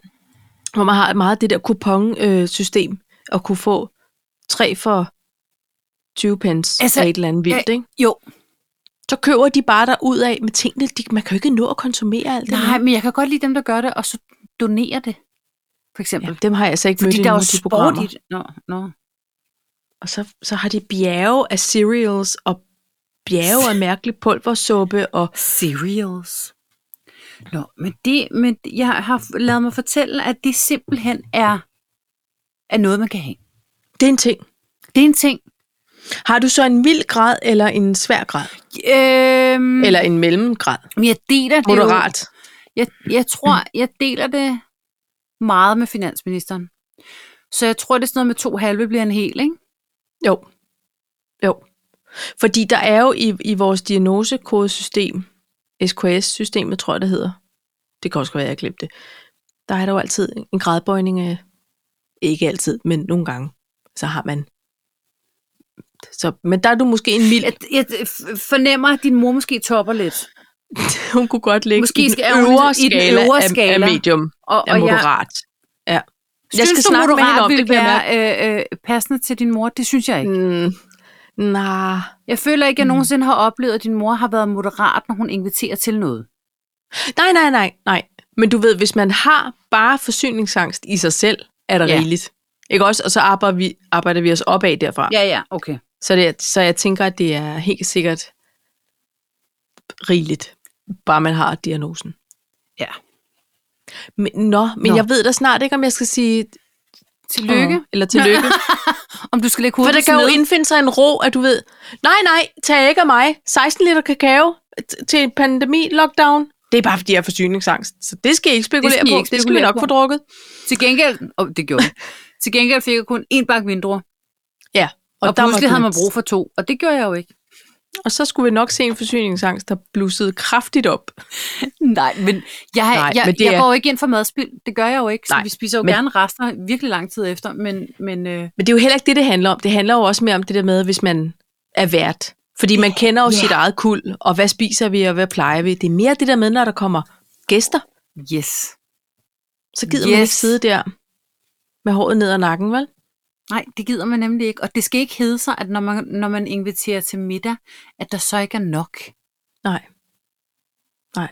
Speaker 1: hvor man har meget af det der kuponsystem, øh, at kunne få tre for 20 pence altså,
Speaker 2: Altså,
Speaker 1: af et eller andet vildt, ikke?
Speaker 2: jo.
Speaker 1: Så køber de bare der ud af med tingene. De, man kan jo ikke nå at konsumere alt det.
Speaker 2: Nej, men jeg kan godt lide dem, der gør det, og så donerer det, for eksempel.
Speaker 1: Jamen, dem har jeg altså ikke mødt
Speaker 2: Fordi
Speaker 1: i
Speaker 2: der er
Speaker 1: nogen
Speaker 2: jo
Speaker 1: af de
Speaker 2: sport
Speaker 1: programmer.
Speaker 2: i det. Nå, nå.
Speaker 1: Og så, så har de bjerge af cereals og bjerge af mærkelig pulversuppe. Og,
Speaker 2: Cereals. Nå, men det, men jeg har f- lavet mig fortælle, at det simpelthen er, er noget, man kan have.
Speaker 1: det er en ting.
Speaker 2: Det er en ting.
Speaker 1: Har du så en vild grad eller en svær grad? Mm.
Speaker 2: Øhm,
Speaker 1: Eller en mellemgrad?
Speaker 2: men jeg deler det jo.
Speaker 1: Moderat?
Speaker 2: Jeg, jeg tror, jeg deler det meget med finansministeren. Så jeg tror, det er sådan noget med to halve bliver en hel, ikke?
Speaker 1: Jo. Jo. Fordi der er jo i, i vores diagnosekodesystem, SKS-systemet tror jeg, det hedder. Det kan også godt være, jeg glemte det. Der er der jo altid en gradbøjning af, ikke altid, men nogle gange, så har man. Så, men der er du måske en mild *laughs*
Speaker 2: Jeg, jeg f- fornemmer, at din mor måske topper lidt.
Speaker 1: hun kunne godt ligge
Speaker 2: Måske
Speaker 1: i den
Speaker 2: skal hun
Speaker 1: øvre
Speaker 2: i den
Speaker 1: skala,
Speaker 2: øvre
Speaker 1: af-
Speaker 2: skala.
Speaker 1: af medium,
Speaker 2: Og, og
Speaker 1: af
Speaker 2: jeg,
Speaker 1: moderat. Ja. Jeg
Speaker 2: synes
Speaker 1: skal
Speaker 2: du,
Speaker 1: snakke med
Speaker 2: moderat
Speaker 1: hende om det,
Speaker 2: ville
Speaker 1: kan jeg
Speaker 2: være øh, øh, passende til din mor? Det synes jeg ikke.
Speaker 1: Mm, nej.
Speaker 2: Jeg føler ikke, at jeg nogensinde har oplevet, at din mor har været moderat, når hun inviterer til noget.
Speaker 1: Nej, nej, nej, nej. Men du ved, hvis man har bare forsyningsangst i sig selv, er der
Speaker 2: Ja.
Speaker 1: ja. rigeligt. Ikke også? Og så arbejder vi, arbejder vi os opad derfra. Ja.
Speaker 2: Ja, ja, okay.
Speaker 1: Så, det, er- så jeg tænker, at det er helt sikkert rigeligt, bare man har diagnosen.
Speaker 2: Ja.
Speaker 1: Men, nå, men nå.
Speaker 2: Nå.
Speaker 1: jeg ved da snart ikke, om jeg skal sige
Speaker 2: Tillykke.
Speaker 1: Åh, eller *laughs* tillykke.
Speaker 2: Om du skal lægge
Speaker 1: For
Speaker 2: hovedet
Speaker 1: der kan jo
Speaker 2: ned.
Speaker 1: indfinde sig en ro, at du ved, nej, nej, tag ikke af mig. 16 liter kakao t- til en pandemi, lockdown. Det er bare, fordi jeg har forsyningsangst. Så det skal I ikke spekulere
Speaker 2: skal I
Speaker 1: på.
Speaker 2: ikke
Speaker 1: det skal vi
Speaker 2: spekulere
Speaker 1: nok
Speaker 2: på.
Speaker 1: få drukket.
Speaker 2: Til gengæld, oh, det *laughs* gjorde jeg. Til gengæld fik jeg kun én bakke vindruer,
Speaker 1: Ja.
Speaker 2: og, og
Speaker 1: der
Speaker 2: pludselig
Speaker 1: måtte
Speaker 2: havde man brug for to, og det gjorde jeg jo ikke.
Speaker 1: Og så skulle vi nok se en forsyningsangst, der blussede kraftigt op.
Speaker 2: Nej, men jeg,
Speaker 1: Nej,
Speaker 2: Nej, jeg,
Speaker 1: men
Speaker 2: men
Speaker 1: det
Speaker 2: jeg
Speaker 1: er-
Speaker 2: går jo ikke ind for madspild. Det gør jeg jo ikke, så
Speaker 1: Nej,
Speaker 2: Nej, vi spiser jo
Speaker 1: men-
Speaker 2: men... gerne rester virkelig lang tid efter, men, men øh,
Speaker 1: Men det er jo heller ikke det, det handler om. Det handler jo også mere om det der med, hvis man er vært. Fordi man kender jo
Speaker 2: Ja.
Speaker 1: sit eget kul, og hvad spiser vi, og hvad plejer vi. Det er mere det der med, når der kommer gæster,
Speaker 2: yes.
Speaker 1: så gider yes. man
Speaker 2: Yes.
Speaker 1: ikke sidde der med håret ned ad nakken, vel?
Speaker 2: Nej, det gider man nemlig ikke, og det skal ikke hedde sig, at når man, når man inviterer til middag, at der så ikke er nok.
Speaker 1: Nej. Nej.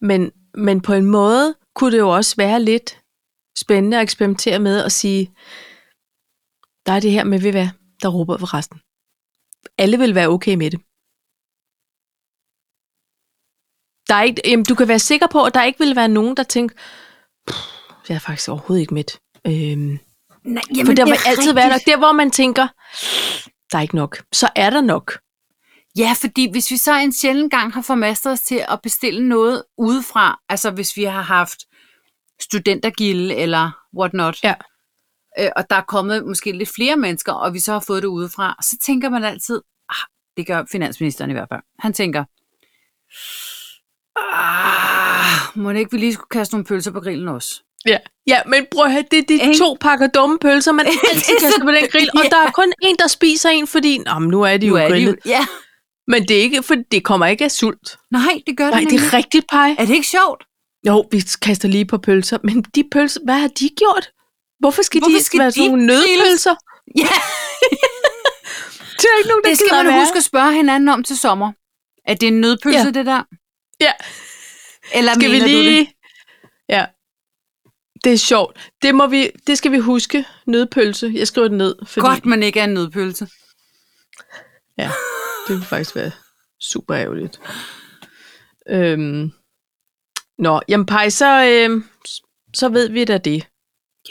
Speaker 1: Men, men på en måde kunne det jo også være lidt spændende at eksperimentere med at sige, der er det her med, ved I hvad, der råber for resten. Alle vil være okay med det. Der er ikke, jamen, du kan være sikker på, at der ikke vil være nogen, der tænker, "Pff, jeg er faktisk overhovedet ikke med. Øhm,
Speaker 2: Nej,
Speaker 1: for der vil altid være nok, der hvor man tænker, der er ikke nok, så er der nok.
Speaker 2: Ja, fordi hvis vi så en sjældent gang har formastet os til at bestille noget udefra, altså hvis vi har haft studentergilde eller whatnot,
Speaker 1: Ja.
Speaker 2: øh, og der er kommet måske lidt flere mennesker, og vi så har fået det udefra, så tænker man altid, ah, det gør finansministeren i hvert fald, han tænker, ah, må det ikke vi lige skulle kaste nogle pølser på grillen også?
Speaker 1: Ja. ja, men prøv at høre, det er de
Speaker 2: Ikke?
Speaker 1: to pakker dumme pølser,
Speaker 2: *laughs*
Speaker 1: man altid
Speaker 2: Det er
Speaker 1: kaster
Speaker 2: så-
Speaker 1: på den grill, og
Speaker 2: Ja.
Speaker 1: der er kun en, der spiser en, fordi Nå, men nu er de jo
Speaker 2: Nu er det
Speaker 1: grillet.
Speaker 2: jo- Ja,
Speaker 1: Men det, er ikke, for det kommer ikke af sult.
Speaker 2: nej, det gør
Speaker 1: Nej,
Speaker 2: det
Speaker 1: det
Speaker 2: nemlig.
Speaker 1: er rigtigt, Paj.
Speaker 2: Er det ikke sjovt?
Speaker 1: Jo, vi kaster lige på pølser, men de pølser, hvad har de gjort? Hvorfor skal
Speaker 2: Hvorfor
Speaker 1: de
Speaker 2: skal
Speaker 1: være
Speaker 2: de
Speaker 1: sådan nogle
Speaker 2: grilles?
Speaker 1: nødpølser?
Speaker 2: Ja,
Speaker 1: Det er *laughs* der ikke nogen, der
Speaker 2: det skal
Speaker 1: gider
Speaker 2: man
Speaker 1: være.
Speaker 2: huske at spørge hinanden om til sommer. Er det en nødpølse,
Speaker 1: Ja.
Speaker 2: det der?
Speaker 1: Ja.
Speaker 2: Eller
Speaker 1: Skal vi
Speaker 2: mener du det?
Speaker 1: lige... Ja. Det er sjovt. Det, må vi, det skal vi huske. Nødpølse. Jeg skriver det ned. Fordi
Speaker 2: Godt, man ikke er en nødpølse.
Speaker 1: Det ville faktisk være super ærgerligt. Øhm. Nå, jamen Paj, så, øhm, s- så ved vi da det.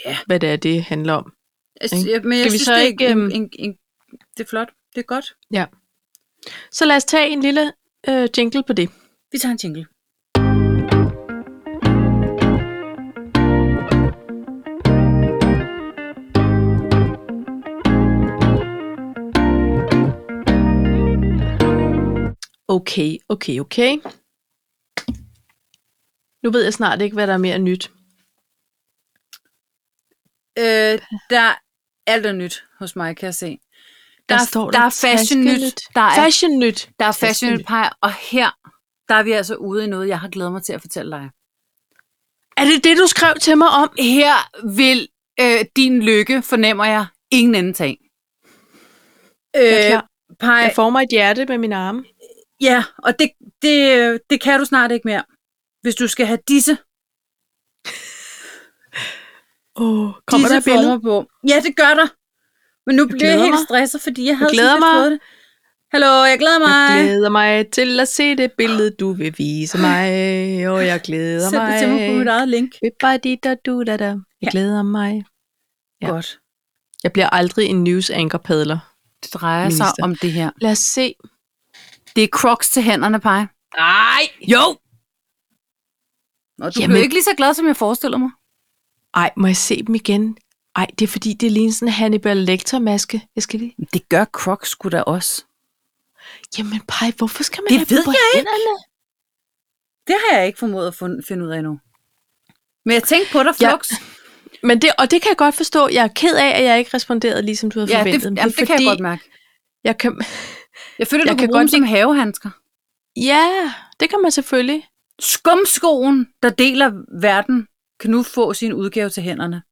Speaker 2: Ja.
Speaker 1: Hvad det er, det handler om.
Speaker 2: Altså,
Speaker 1: Ikke?
Speaker 2: jeg- men jeg
Speaker 1: Skal vi
Speaker 2: synes,
Speaker 1: så
Speaker 2: det er
Speaker 1: ikke,
Speaker 2: en-
Speaker 1: øhm,
Speaker 2: en- en- Det er flot. Det er godt.
Speaker 1: Så lad os tage en lille øh, jingle på det.
Speaker 2: Vi tager en jingle.
Speaker 1: Okay, okay, okay. Nu ved jeg snart ikke, hvad der er mere nyt.
Speaker 2: Øh, der er alt er nyt hos mig, kan jeg se. Der,
Speaker 1: Hvad står
Speaker 2: der, der er fashion nyt. Der er,
Speaker 1: fashion nyt.
Speaker 2: der er fashion
Speaker 1: Fashion
Speaker 2: nyt, Paj, og her, der er vi altså ude i noget, jeg har glædet mig til at fortælle dig.
Speaker 1: Er det det, du skrev til mig om?
Speaker 2: Her vil øh, din lykke, fornemmer jeg, ingen anden tag. Øh,
Speaker 1: er klar.
Speaker 2: Paj,
Speaker 1: Øh, Jeg former et hjerte med mine arme.
Speaker 2: ja, og det, det, øh, det kan du snart ikke mere, hvis du skal have disse,
Speaker 1: Oh, kommer der
Speaker 2: disse
Speaker 1: et billede?
Speaker 2: former på. Ja, det gør der. Men nu bliver jeg
Speaker 1: glæder
Speaker 2: helt
Speaker 1: mig.
Speaker 2: stresset, fordi jeg havde
Speaker 1: glæder
Speaker 2: sådan lidt
Speaker 1: mig.
Speaker 2: fået det. Hallo, jeg glæder mig.
Speaker 1: Jeg glæder mig til at se det billede, du vil vise mig. Og jeg glæder
Speaker 2: Sæt
Speaker 1: mig.
Speaker 2: det til mig på mit eget link.
Speaker 1: da da. Jeg
Speaker 2: Ja.
Speaker 1: glæder mig. Ja.
Speaker 2: Godt.
Speaker 1: Jeg bliver aldrig en news anchor padler.
Speaker 2: Det drejer sig
Speaker 1: Minister.
Speaker 2: om det her.
Speaker 1: Lad os se.
Speaker 2: Det er crocs til hænderne, Paj.
Speaker 1: Nej. Jo.
Speaker 2: Nå, du
Speaker 1: Jamen.
Speaker 2: blev ikke lige så glad, som jeg forestillede mig.
Speaker 1: Ej, må jeg se dem igen? Ej, det er fordi, det ligner sådan en Hannibal Lecter-maske. Jeg skal lige...
Speaker 2: Det gør crocs sgu da også.
Speaker 1: Jamen, Paj, hvorfor skal man
Speaker 2: Det
Speaker 1: have dem
Speaker 2: ved
Speaker 1: på
Speaker 2: jeg ikke.
Speaker 1: hænderne?
Speaker 2: Det har jeg ikke formået at fund- finde ud af endnu. Men jeg tænkte på dig,
Speaker 1: Ja,
Speaker 2: Flux. Ja,
Speaker 1: Men det, og det kan jeg godt forstå. Jeg er ked af, at jeg ikke responderede, ligesom du havde
Speaker 2: ja det,
Speaker 1: forventet.
Speaker 2: jamen,
Speaker 1: Men
Speaker 2: det, det kan jeg godt mærke.
Speaker 1: jeg kan,
Speaker 2: Jeg føler,
Speaker 1: Jeg
Speaker 2: du jeg kan
Speaker 1: kan
Speaker 2: bruge
Speaker 1: godt
Speaker 2: dem som havehandsker.
Speaker 1: Ja, det kan man selvfølgelig.
Speaker 2: Skumskoen, der deler verden, kan nu få sin udgave til hænderne.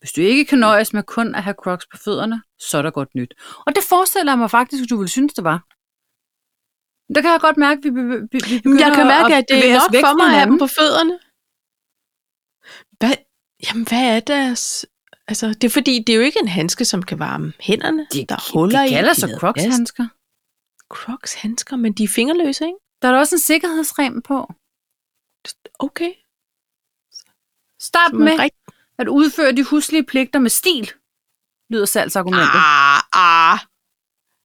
Speaker 2: Hvis du ikke kan nøjes med kun at have crocs på fødderne, så er der godt nyt. Og det forestiller jeg mig faktisk, at du ville synes, det var. Der kan jeg godt mærke, at vi, vi, vi
Speaker 1: Men jeg
Speaker 2: begynder
Speaker 1: kan mærke,
Speaker 2: at
Speaker 1: at det er
Speaker 2: bevæge os
Speaker 1: nok
Speaker 2: væk
Speaker 1: for
Speaker 2: fra
Speaker 1: mig at have
Speaker 2: hinanden.
Speaker 1: dem på fødderne. Hvad? Jamen, hvad er deres... Altså, det er fordi, det er jo ikke en handske, som kan varme hænderne.
Speaker 2: De-
Speaker 1: der er huller
Speaker 2: de
Speaker 1: i.
Speaker 2: kalder
Speaker 1: de
Speaker 2: sig
Speaker 1: lader plads.
Speaker 2: crocs-handsker.
Speaker 1: Crocs handsker, men de er fingerløse, ikke?
Speaker 2: Der er da også en sikkerhedsrem på.
Speaker 1: Okay.
Speaker 2: Start
Speaker 1: Så man
Speaker 2: med
Speaker 1: Rigtig...
Speaker 2: at udføre de huslige pligter med stil, lyder salgsargumentet.
Speaker 1: Ah, ah.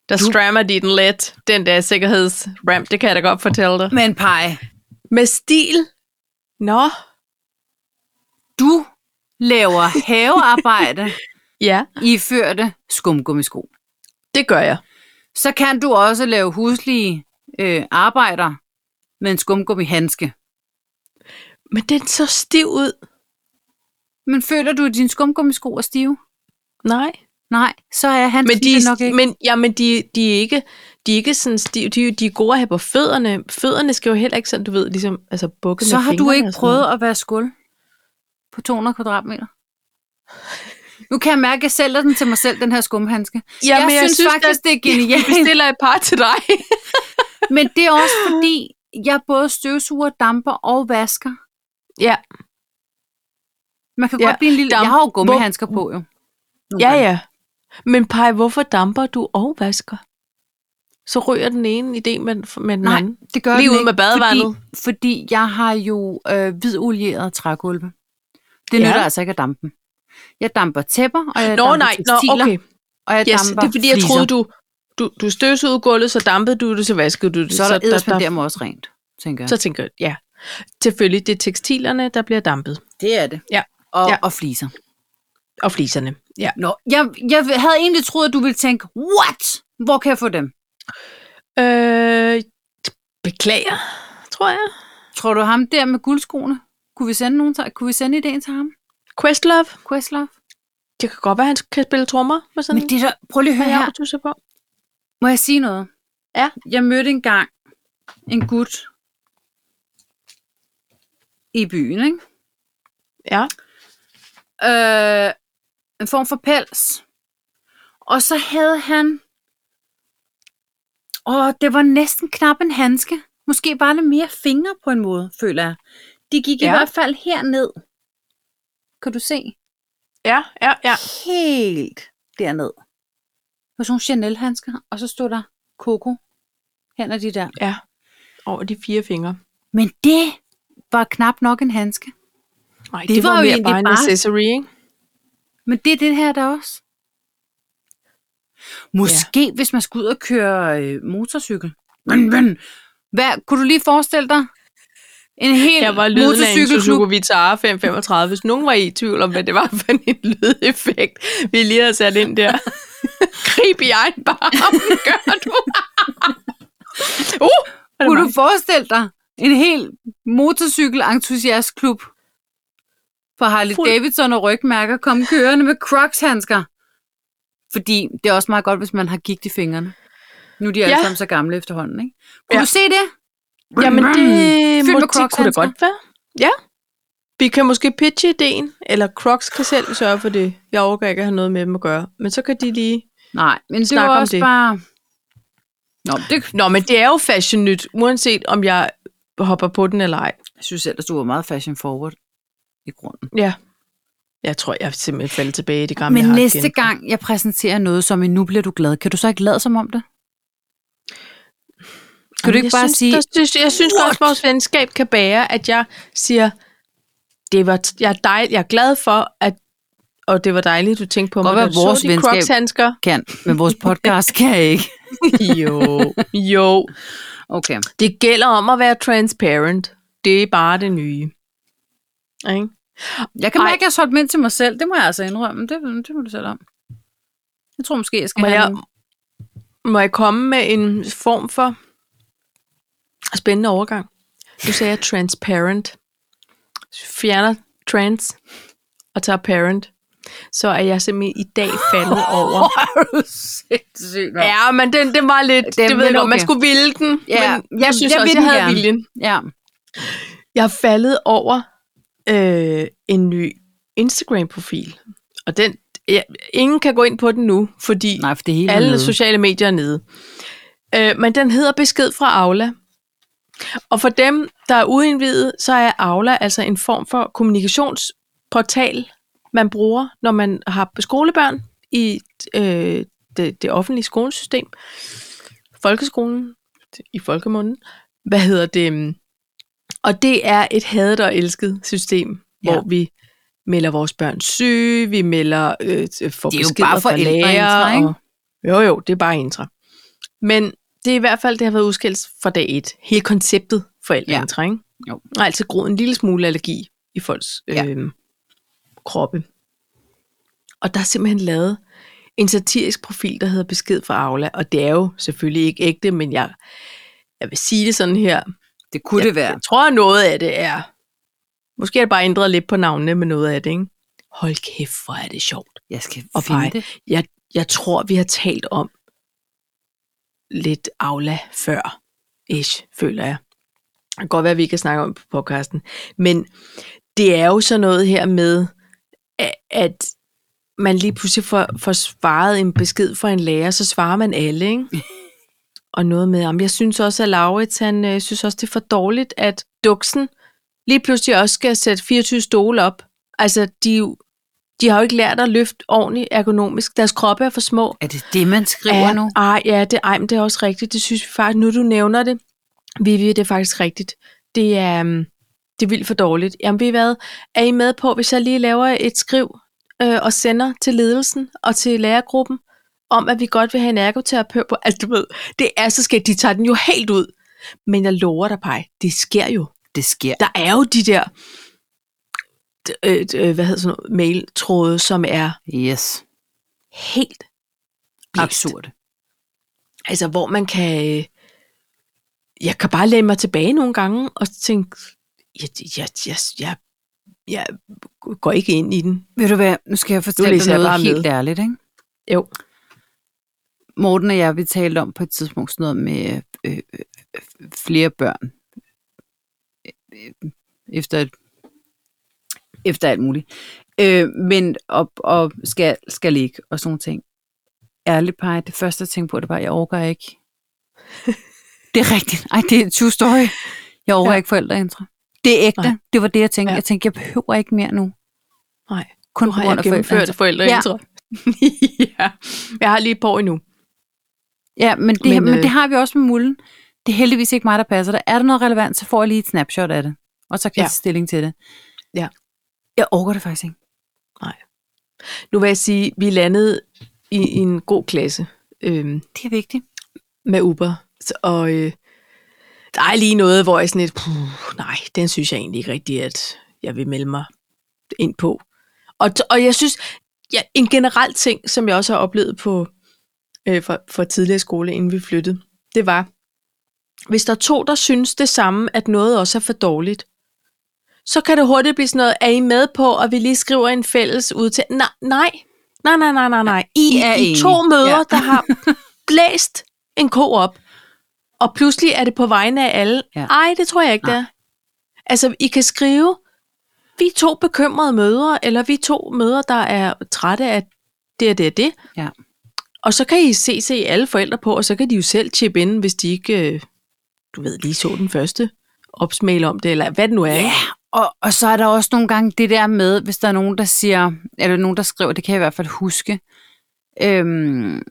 Speaker 1: Der
Speaker 2: Du-
Speaker 1: strammer de den let. Den der sikkerhedsramp, det kan jeg da godt fortælle dig.
Speaker 2: Men pej,
Speaker 1: Med stil. Nå.
Speaker 2: du laver havearbejde
Speaker 1: Ja,
Speaker 2: i førte skumgummisko.
Speaker 1: det gør jeg.
Speaker 2: Så kan du også lave huslige øh, arbejder med en skumgummihandske.
Speaker 1: Men den så stiv ud.
Speaker 2: Men føler du, at dine skumgummisko er stive?
Speaker 1: Nej.
Speaker 2: Nej, så er
Speaker 1: Men
Speaker 2: handsken
Speaker 1: de,
Speaker 2: det
Speaker 1: er-
Speaker 2: nok ikke.
Speaker 1: men, ja, men de, de, er ikke, de er ikke sådan stive. De, er jo- de er gode at have på fødderne. Fødderne skal jo heller ikke sådan, du ved, ligesom altså bukke
Speaker 2: Så
Speaker 1: med
Speaker 2: har du
Speaker 1: fingrene
Speaker 2: ikke
Speaker 1: og sådan noget.
Speaker 2: prøvet at være skuld på 200 kvadratmeter? Nu kan jeg mærke, at jeg sælger den til mig selv, den her skumhandske.
Speaker 1: Ja,
Speaker 2: jeg,
Speaker 1: men
Speaker 2: synes, faktisk, det er
Speaker 1: *laughs* jeg
Speaker 2: genialt.
Speaker 1: bestiller et par til dig.
Speaker 2: Men det er også fordi, jeg både støvsuger, damper og vasker.
Speaker 1: ja,
Speaker 2: Man kan
Speaker 1: Ja,
Speaker 2: godt blive en lille...
Speaker 1: damp-
Speaker 2: jeg har jo gummihandsker på, jo. Nogle
Speaker 1: ja,
Speaker 2: gange.
Speaker 1: ja. Men Paj, hvorfor damper du og vasker? Så ryger den ene idé med, med den
Speaker 2: Nej,
Speaker 1: anden.
Speaker 2: det gør
Speaker 1: Lige
Speaker 2: den
Speaker 1: ud
Speaker 2: ikke,
Speaker 1: med badevandet.
Speaker 2: Fordi, fordi jeg har jo øh, hvidolieret trægulve. Det
Speaker 1: Ja.
Speaker 2: ja. nytter altså ikke at dampe dem. Jeg damper tæpper, og jeg
Speaker 1: Nå,
Speaker 2: damper
Speaker 1: nej, nå,
Speaker 2: tekstiler,
Speaker 1: okay.
Speaker 2: og jeg
Speaker 1: Yes,
Speaker 2: damper
Speaker 1: det er fordi, jeg
Speaker 2: fliser.
Speaker 1: troede, du, du, du støvsugede gulvet, så dampede du det, så vaskede du det.
Speaker 2: Så er der
Speaker 1: der, der,
Speaker 2: edderspandere mig også rent, tænker jeg.
Speaker 1: så tænker jeg, ja. Selvfølgelig, det er tekstilerne, der bliver dampet.
Speaker 2: det er det.
Speaker 1: Ja.
Speaker 2: Og,
Speaker 1: Ja.
Speaker 2: ja. og fliser.
Speaker 1: Og fliserne. Ja.
Speaker 2: Nå, jeg, jeg havde egentlig troet, at du ville tænke, what? Hvor kan jeg få dem?
Speaker 1: Øh, beklager, tror jeg.
Speaker 2: Tror du ham der med guldskoene? Kunne vi sende, nogen til, kunne vi sende ideen til ham?
Speaker 1: Questlove.
Speaker 2: Questlove?
Speaker 1: Det kan godt være, han kan spille trommer med sådan
Speaker 2: Men det der, prøv lige at
Speaker 1: en
Speaker 2: høre her.
Speaker 1: jagertusser på.
Speaker 2: Må jeg sige noget?
Speaker 1: Ja.
Speaker 2: Jeg mødte engang en gut i byen, ikke?
Speaker 1: Ja.
Speaker 2: Øh, en form for pels. Og så havde han... Og det var næsten knap en handske. Måske bare lidt mere fingre på en måde, føler jeg. De gik ja. i
Speaker 1: Ja.
Speaker 2: hvert fald herned. Kan du se?
Speaker 1: Ja, ja, ja.
Speaker 2: helt derned. På sådan nogle Chanel-handsker, og så stod der Coco hen og de der.
Speaker 1: Ja. Over de fire fingre.
Speaker 2: Men det var knap nok en handske.
Speaker 1: Nej, det,
Speaker 2: Det
Speaker 1: det var,
Speaker 2: var jo
Speaker 1: var mere
Speaker 2: egentlig
Speaker 1: bare en
Speaker 2: bare-
Speaker 1: accessory, ikke?
Speaker 2: Men det er det her der også. Måske ja. hvis man skulle ud og køre øh, motorcykel. Men, men, hvad, kunne du lige forestille dig? En hel
Speaker 1: Jeg var lyden af en Suzuki Vitara 535, hvis nogen var i tvivl om, hvad det var for en lydeffekt, vi lige havde sat ind der. Grib i egen barm, gør du. *laughs* uh, er det
Speaker 2: Kunne du
Speaker 1: mig?
Speaker 2: forestille dig En hel motorcykelentusiastklub på Harley
Speaker 1: Fuld-
Speaker 2: Fuld. Davidson og rygmærker kom kørende med Crocs-handsker. Fordi det er også meget godt, hvis man har gigt i fingrene. Nu er de alle
Speaker 1: Ja.
Speaker 2: sammen så gamle efterhånden, ikke? Kunne
Speaker 1: Ja.
Speaker 2: ja. du se det?
Speaker 1: Jamen, mm. det,
Speaker 2: Fyldt
Speaker 1: må, det kunne
Speaker 2: med
Speaker 1: det
Speaker 2: Crocs-handsker.
Speaker 1: godt være. Ja. Vi kan måske pitche ideen, eller Crocs kan selv sørge for det. Jeg overgår ikke at have noget med dem at gøre. Men så kan de lige...
Speaker 2: Nej, men det
Speaker 1: Snak
Speaker 2: var
Speaker 1: om
Speaker 2: også
Speaker 1: det.
Speaker 2: bare... Nå, men det
Speaker 1: Nå, men det er jo fashion nyt, uanset om jeg hopper på den eller ej.
Speaker 2: jeg synes ellers, du var meget fashion forward i grunden.
Speaker 1: Ja. Jeg tror, jeg simpelthen falder tilbage i det gamle,
Speaker 2: Jamen,
Speaker 1: jeg
Speaker 2: men
Speaker 1: har
Speaker 2: næste
Speaker 1: igen.
Speaker 2: gang, jeg præsenterer noget som en nu bliver du glad, kan du så ikke lade som om det? Kan du
Speaker 1: Jamen,
Speaker 2: ikke
Speaker 1: jeg
Speaker 2: bare
Speaker 1: synes,
Speaker 2: sige,
Speaker 1: Der, synes, jeg synes
Speaker 2: "What?"
Speaker 1: godt, at vores venskab kan bære, at jeg siger, det var, jeg, er dej, jeg er glad for, at og det var dejligt, du tænkte på mig,
Speaker 2: Godt være,
Speaker 1: da du
Speaker 2: vores
Speaker 1: så de
Speaker 2: venskab-
Speaker 1: Crocs-handsker.
Speaker 2: kan, men vores *laughs* podcast kan ikke?
Speaker 1: *laughs* jo, jo.
Speaker 2: Okay.
Speaker 1: Det gælder om at være transparent. Det er bare det nye. Ikke?
Speaker 2: Jeg kan
Speaker 1: Ej.
Speaker 2: mærke, at jeg har solgt mig ind til mig selv. Det må jeg altså indrømme. Det, det må du selv om. Jeg tror måske, jeg skal
Speaker 1: Må
Speaker 2: have
Speaker 1: jeg,
Speaker 2: en-
Speaker 1: må jeg komme med en form for spændende overgang? Du sagde jeg transparent. Fjerner trans og tager parent. Så er jeg simpelthen i dag
Speaker 2: *laughs*
Speaker 1: faldet over.
Speaker 2: *laughs* er du sindssygt, mand.
Speaker 1: Ja, men den, den var lidt...
Speaker 2: Den-
Speaker 1: det ved
Speaker 2: den
Speaker 1: jeg
Speaker 2: er
Speaker 1: godt, man
Speaker 2: okay.
Speaker 1: skulle ville den.
Speaker 2: Ja,
Speaker 1: men
Speaker 2: jeg-
Speaker 1: jeg synes
Speaker 2: jeg vil
Speaker 1: også,
Speaker 2: den
Speaker 1: jeg havde
Speaker 2: gerne.
Speaker 1: viljen.
Speaker 2: ja.
Speaker 1: Jeg er faldet over øh, en ny Instagram-profil. Og den, ja, ingen kan gå ind på den nu, fordi
Speaker 2: Nej, for det hele er
Speaker 1: alle
Speaker 2: nede.
Speaker 1: sociale medier er nede. Øh, men den hedder Besked fra Aula. Og for dem, der er uindvidet, så er Aula altså en form for kommunikationsportal, man bruger, når man har skolebørn i øh, det, det offentlige skolesystem. Folkeskolen, i folkemunden. Hvad hedder det? Og det er et hadet og elsket system,
Speaker 2: Ja.
Speaker 1: ja. hvor vi melder vores børn syge, vi melder øh, t- får
Speaker 2: Det er jo
Speaker 1: beskeder
Speaker 2: bare
Speaker 1: fra
Speaker 2: forældreintra,
Speaker 1: lærere.
Speaker 2: ikke?
Speaker 1: Og, jo, jo, det er bare intra. Men det er i hvert fald, det har været udskilt fra dag et. Hele konceptet forældreintra, ja. ikke?
Speaker 2: Jo.
Speaker 1: Og altså groet en lille smule allergi i folks øh,
Speaker 2: Ja.
Speaker 1: kroppe. Og der er simpelthen lavet en satirisk profil, der hedder Besked fra Aula, og det er jo selvfølgelig ikke ægte, men jeg, jeg vil sige det sådan her.
Speaker 2: Det kunne det være.
Speaker 1: Jeg tror, noget af det er... Måske er det bare ændret lidt på navnene med noget af det, ikke? Hold kæft, hvor er det sjovt.
Speaker 2: Jeg skal
Speaker 1: Og
Speaker 2: finde
Speaker 1: pege.
Speaker 2: det.
Speaker 1: Jeg, jeg tror, vi har talt om lidt Aula før, ish, føler jeg. Det kan godt være, at vi ikke kan snakke om det på podcasten. Men det er jo sådan noget her med, a- at man lige pludselig får, får svaret en besked fra en lærer, så svarer man alle, ikke? Og noget med, om jeg synes også, at Laurits, han øh, synes også, det er for dårligt, at duksen lige pludselig også skal sætte 24 stole op. Altså, de, er jo- de har jo ikke lært at løfte ordentligt ergonomisk. Deres kroppe er for små.
Speaker 2: Er det det, man skriver
Speaker 1: ja,
Speaker 2: nu?
Speaker 1: Ej, ja, det, ej, men det er også rigtigt. Det synes vi faktisk, nu du nævner det, Vivi, det er faktisk rigtigt. Det er, øhm, det er vildt for dårligt. Jamen, vi hvad, er I med på, hvis jeg lige laver et skriv øh, og sender til ledelsen og til lærergruppen, om at vi godt vil have en ergoterapeut på, altså du ved, det er så skægt, de tager den jo helt ud. Men jeg lover dig, Paj, det sker jo.
Speaker 2: Det sker.
Speaker 1: Der er jo de der, øh, øh, hvad hedder sådan noget, mailtråde, som er
Speaker 2: Yes.
Speaker 1: helt blæst.
Speaker 2: Absurd.
Speaker 1: Altså, hvor man kan... øh, Jeg kan bare læne mig tilbage nogle gange og tænke, jeg, jeg, jeg, jeg, jeg går ikke ind i den.
Speaker 2: Ved du hvad, nu skal jeg fortælle dig
Speaker 1: læser jeg
Speaker 2: noget
Speaker 1: bare
Speaker 2: helt
Speaker 1: med.
Speaker 2: ærligt, ikke?
Speaker 1: Jo.
Speaker 2: Morten og jeg, vi talte om på et tidspunkt sådan noget med øh, øh, øh, flere børn. Øh, øh, Efter, efter alt muligt. Øh, men op og skal, skal ligge og sådan nogle ting. Ærligt, Paj, det første jeg tænkte på, det var, at jeg overgår
Speaker 1: *laughs*
Speaker 2: ikke. det er rigtigt. Ej, det er true story. Jeg overgår
Speaker 1: Ja.
Speaker 2: ja. ikke forældreintra. Det er ægte.
Speaker 1: Nej.
Speaker 2: Det var det, jeg tænkte.
Speaker 1: Ja.
Speaker 2: Ja. Jeg tænkte, jeg behøver ikke mere nu.
Speaker 1: Nej,
Speaker 2: Kun
Speaker 1: nu
Speaker 2: på
Speaker 1: har
Speaker 2: grund
Speaker 1: jeg
Speaker 2: af
Speaker 1: gennemført
Speaker 2: forældreintra.
Speaker 1: forældreintro. Ja. *laughs* ja. Jeg har lige et par år endnu.
Speaker 2: Ja, men det, men,
Speaker 1: Men,
Speaker 2: men
Speaker 1: øh,
Speaker 2: det har vi også med mulden. Det er heldigvis ikke mig, der passer det. Er der noget relevant, så får jeg lige et snapshot af det. Og så kan ja.
Speaker 1: Ja.
Speaker 2: jeg tage stilling til det.
Speaker 1: Ja.
Speaker 2: Jeg overgår det faktisk ikke.
Speaker 1: Nu vil jeg sige, vi landede i, i en god klasse øhm,
Speaker 2: Det er vigtigt.
Speaker 1: med Uber. Så, og øh, der er lige noget, hvor jeg sådan lidt, puh, nej, den synes jeg egentlig ikke rigtigt, at jeg vil melde mig ind på. Og, og jeg synes, ja, en generel ting, som jeg også har oplevet på øh, fra, fra tidligere skole, inden vi flyttede, det var, hvis der er to, der synes det samme, at noget også er for dårligt, så kan det hurtigt blive sådan noget, er I med på, at vi lige skriver en fælles udtale? Nej, nej, nej, nej, nej, nej, nej. I,
Speaker 2: I er
Speaker 1: I to
Speaker 2: enige.
Speaker 1: møder,
Speaker 2: Ja.
Speaker 1: der
Speaker 2: *laughs*
Speaker 1: har blæst en ko op, og pludselig er det på vegne af alle.
Speaker 2: Ja.
Speaker 1: Ej, det tror jeg ikke, det er. Altså, I kan skrive, vi er to bekymrede mødre, eller vi er to mødre, der er trætte af det og det og det.
Speaker 2: Ja.
Speaker 1: Og så kan I se se alle forældre på, og så kan de jo selv chippe ind, hvis de ikke, øh, du ved, lige så den første opsmale om det, eller hvad det nu er. ikke?
Speaker 2: Og, og så er der også nogle gange det der med, hvis der er nogen, der siger, eller nogen, der skriver, det kan jeg i hvert fald huske. Øhm,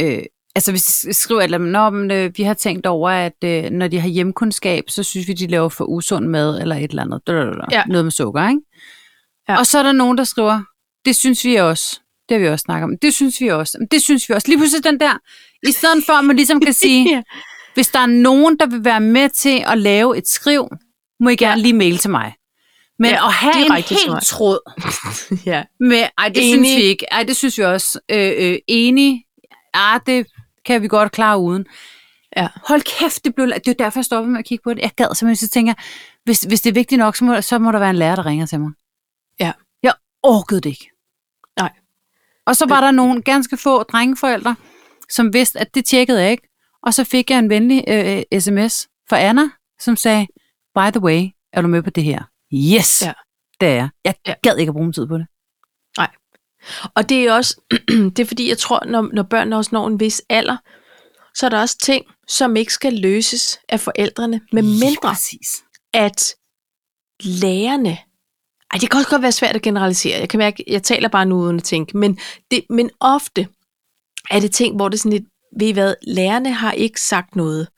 Speaker 2: øh, altså hvis de s- skriver, at Nå, men, øh, vi har tænkt over, at øh, når de har hjemkundskab, så synes vi, de laver for usund mad, eller et eller andet. Da, da, da, da.
Speaker 1: Ja.
Speaker 2: Noget med sukker, ikke?
Speaker 1: Ja.
Speaker 2: Og så er der nogen, der skriver, det synes vi også. Det har vi også snakket om. Det synes vi også. Det synes vi også. Lige pludselig den der, i stedet for, at man ligesom kan sige,
Speaker 1: Ja.
Speaker 2: hvis der er nogen, der vil være med til at lave et skriv, må I gerne lige mail til mig. Men
Speaker 1: Ja,
Speaker 2: ja, at have en
Speaker 1: direkte til mig.
Speaker 2: helt tråd
Speaker 1: *laughs* ja.
Speaker 2: med, ej, det
Speaker 1: Enig.
Speaker 2: synes vi ikke, ej, det synes vi også, øh, øh, enig, ja, det kan vi godt klare uden.
Speaker 1: Ja.
Speaker 2: Hold kæft, det blev, la- det er jo derfor, jeg stoppede med at kigge på det. Jeg gad simpelthen, så tænker jeg, hvis, hvis det er vigtigt nok, så må, så må der være en lærer, der ringer til mig.
Speaker 1: Ja.
Speaker 2: Jeg orkede det ikke.
Speaker 1: Nej.
Speaker 2: Og så var der nogle ganske få drengeforældre, som vidste, at det tjekkede jeg ikke. Og så fik jeg en venlig øh, øh, sms fra Anna, som sagde, by the way, er du med på det her? Yes,
Speaker 1: Ja.
Speaker 2: det er jeg. Jeg
Speaker 1: Ja.
Speaker 2: gad ikke at bruge min tid på det.
Speaker 1: Og det er også, *clears throat* det er fordi, jeg tror, når, når børnene også når en vis alder, så er der også ting, som ikke skal løses af forældrene, med mindre
Speaker 2: præcis.
Speaker 1: at lærerne, ej, det kan også godt være svært at generalisere, jeg kan mærke, jeg taler bare nu uden at tænke, men, det, men ofte er det ting, hvor det er sådan lidt, ved I hvad, lærerne har ikke sagt noget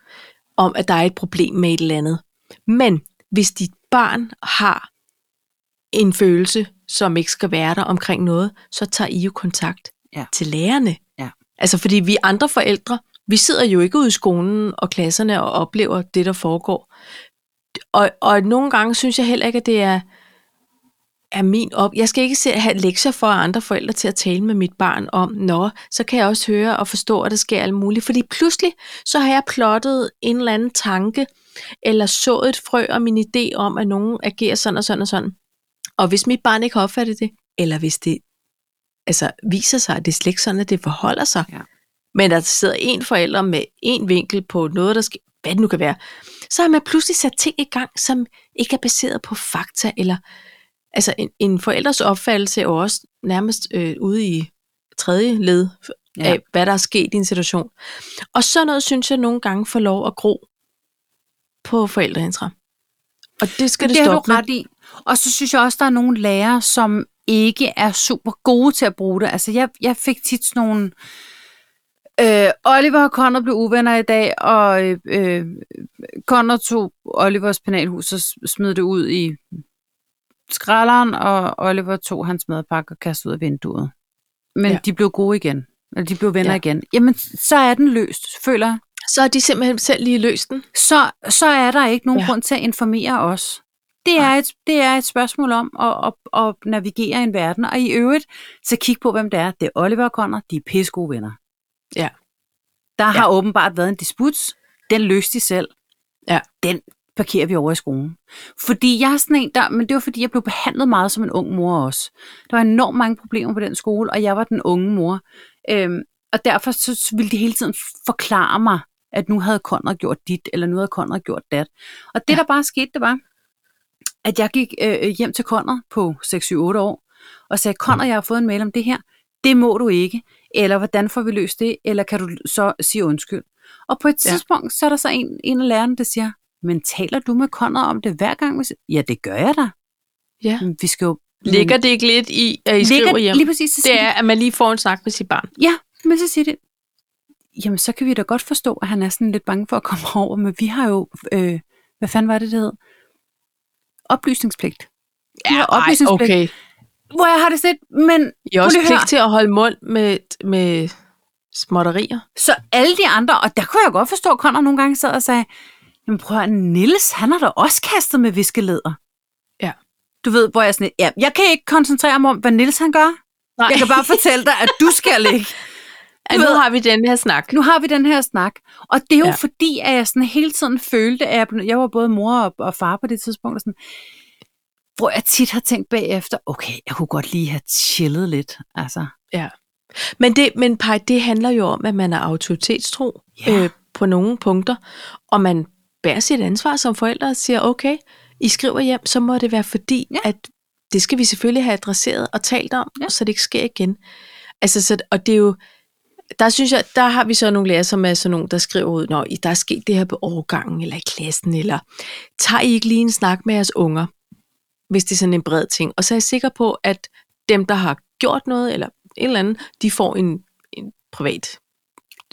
Speaker 1: om, at der er et problem med et eller andet. Men hvis dit barn har en følelse, som ikke skal være der omkring noget, så tager I jo kontakt
Speaker 2: Ja.
Speaker 1: til lærerne.
Speaker 2: Ja.
Speaker 1: Altså fordi vi andre forældre, vi sidder jo ikke ude i skolen og klasserne og oplever det, der foregår. Og, og nogle gange synes jeg heller ikke, at det er, er min op. Jeg skal ikke se, have lektier for andre forældre til at tale med mit barn om, nå, så kan jeg også høre og forstå, at der sker alt muligt. Fordi pludselig, så har jeg plottet en eller anden tanke, eller så et frø om min idé om, at nogen agerer sådan og sådan og sådan. Og hvis mit barn ikke har opfattet det, eller hvis det altså, viser sig, at det er slet ikke sådan, at det forholder sig,
Speaker 2: Ja.
Speaker 1: men der sidder en forælder med en vinkel på noget, der sker, hvad det nu kan være, så har man pludselig sat ting i gang, som ikke er baseret på fakta, eller altså en, en forældres opfattelse er jo også nærmest øh, ude i tredje led
Speaker 2: Ja.
Speaker 1: af, hvad der er sket i en situation. Og sådan noget synes jeg nogle gange får lov at gro på forældreintra. Og det skal det,
Speaker 2: det
Speaker 1: det
Speaker 2: har du
Speaker 1: stoppe med.
Speaker 2: ret i. Og så synes jeg også, der er nogle lærere, som ikke er super gode til at bruge det. Altså, jeg, jeg fik tit sådan nogle... Øh, Oliver og Conrad blev uvenner i dag, og øh, øh, Conrad tog Olivers penalhus og s- smed det ud i skralderen, og Oliver tog hans madpakke og kastede ud af vinduet. Men
Speaker 1: Ja.
Speaker 2: ja. de blev gode igen. Eller de blev venner
Speaker 1: Ja.
Speaker 2: ja. igen. Jamen, så er den løst, føler jeg.
Speaker 1: Så har de simpelthen selv lige løst den.
Speaker 2: så, så er der ikke nogen
Speaker 1: Ja.
Speaker 2: ja. grund til at informere os. Det er,
Speaker 1: Nej.
Speaker 2: et, det er et spørgsmål om at, at, at navigere i en verden, og i øvrigt, så kig på, hvem det er. Det er Oliver og Conrad, de er pissegode venner.
Speaker 1: Ja.
Speaker 2: Der har åbenbart været en disput, den løste de selv.
Speaker 1: Ja.
Speaker 2: Den parkerer vi over i skolen. Fordi jeg er sådan en, der, men det var fordi, jeg blev behandlet meget som en ung mor også. Der var enormt mange problemer på den skole, og jeg var den unge mor. Øhm, og derfor så så ville de hele tiden forklare mig, at nu havde Conrad gjort dit, eller nu havde Conrad gjort dat. Og det,
Speaker 1: Ja.
Speaker 2: ja. der bare skete, det var, at jeg gik øh, øh, hjem til Conrad på 6-7-8 år, og sagde, Conrad, jeg har fået en mail om det her. Det må du ikke. Eller hvordan får vi løst det? Eller kan du så sige undskyld? Og på et
Speaker 1: Ja.
Speaker 2: tidspunkt, så er der så en, en af lærerne, der siger, men taler du med Conrad om det hver gang? Vi s- Ja, det gør jeg da.
Speaker 1: Ja.
Speaker 2: Men Vi skal jo...
Speaker 1: Ligger det ikke lidt i, at I skriver hjem?
Speaker 2: Mm. Lige præcis, så siger
Speaker 1: Det er, at man lige får en snak med sit barn.
Speaker 2: Ja, men så siger det, jamen så kan vi da godt forstå, at han er sådan lidt bange for at komme *laughs* over, men vi har jo, øh, hvad fanden var det, det hed? Oplysningspligt. Ja,
Speaker 1: ej, okay.
Speaker 2: Hvor jeg har det set, men
Speaker 1: I har også
Speaker 2: Prøv lige
Speaker 1: pligt
Speaker 2: at høre.
Speaker 1: til at holde mund med, med småtterier.
Speaker 2: så alle de andre, og der kunne jeg godt forstå, at Conor nogle gange sad og sagde, jamen prøv at høre, Niels, han har da også kastet med viskeleder.
Speaker 1: Ja.
Speaker 2: Du ved, hvor jeg er sådan, lidt, ja, jeg kan ikke koncentrere mig om, hvad Niels han gør.
Speaker 1: *laughs* Nej.
Speaker 2: Jeg kan bare fortælle dig, at du skal ikke.
Speaker 1: at nu
Speaker 2: ved-
Speaker 1: har vi den her snak.
Speaker 2: nu har vi den her snak. Og det er jo
Speaker 1: Ja.
Speaker 2: ja. fordi, at jeg sådan hele tiden følte, at jeg, blev- jeg var både mor og, og far på det tidspunkt, og sådan, hvor jeg tit har tænkt bagefter, okay, jeg kunne godt lige have chillet lidt. Altså,
Speaker 1: Mm. Men, det, men Paj, det handler jo om, at man er autoritetstro
Speaker 2: Ja.
Speaker 1: øh, på nogle punkter, og man bærer sit ansvar som forældre og siger, okay, I skriver hjem, så må det være fordi,
Speaker 2: Ja.
Speaker 1: ja. at det skal vi selvfølgelig have adresseret og talt om,
Speaker 2: Ja.
Speaker 1: ja. så det ikke sker igen. Altså, så, og det er jo, der synes jeg, der har vi så nogle lærere, som er sådan nogle, der skriver ud, når der er sket det her på overgangen, eller i klassen, eller tager I ikke lige en snak med jeres unger, hvis det er sådan en bred ting. Og så er jeg sikker på, at dem, der har gjort noget, eller et eller andet, de får en, en privat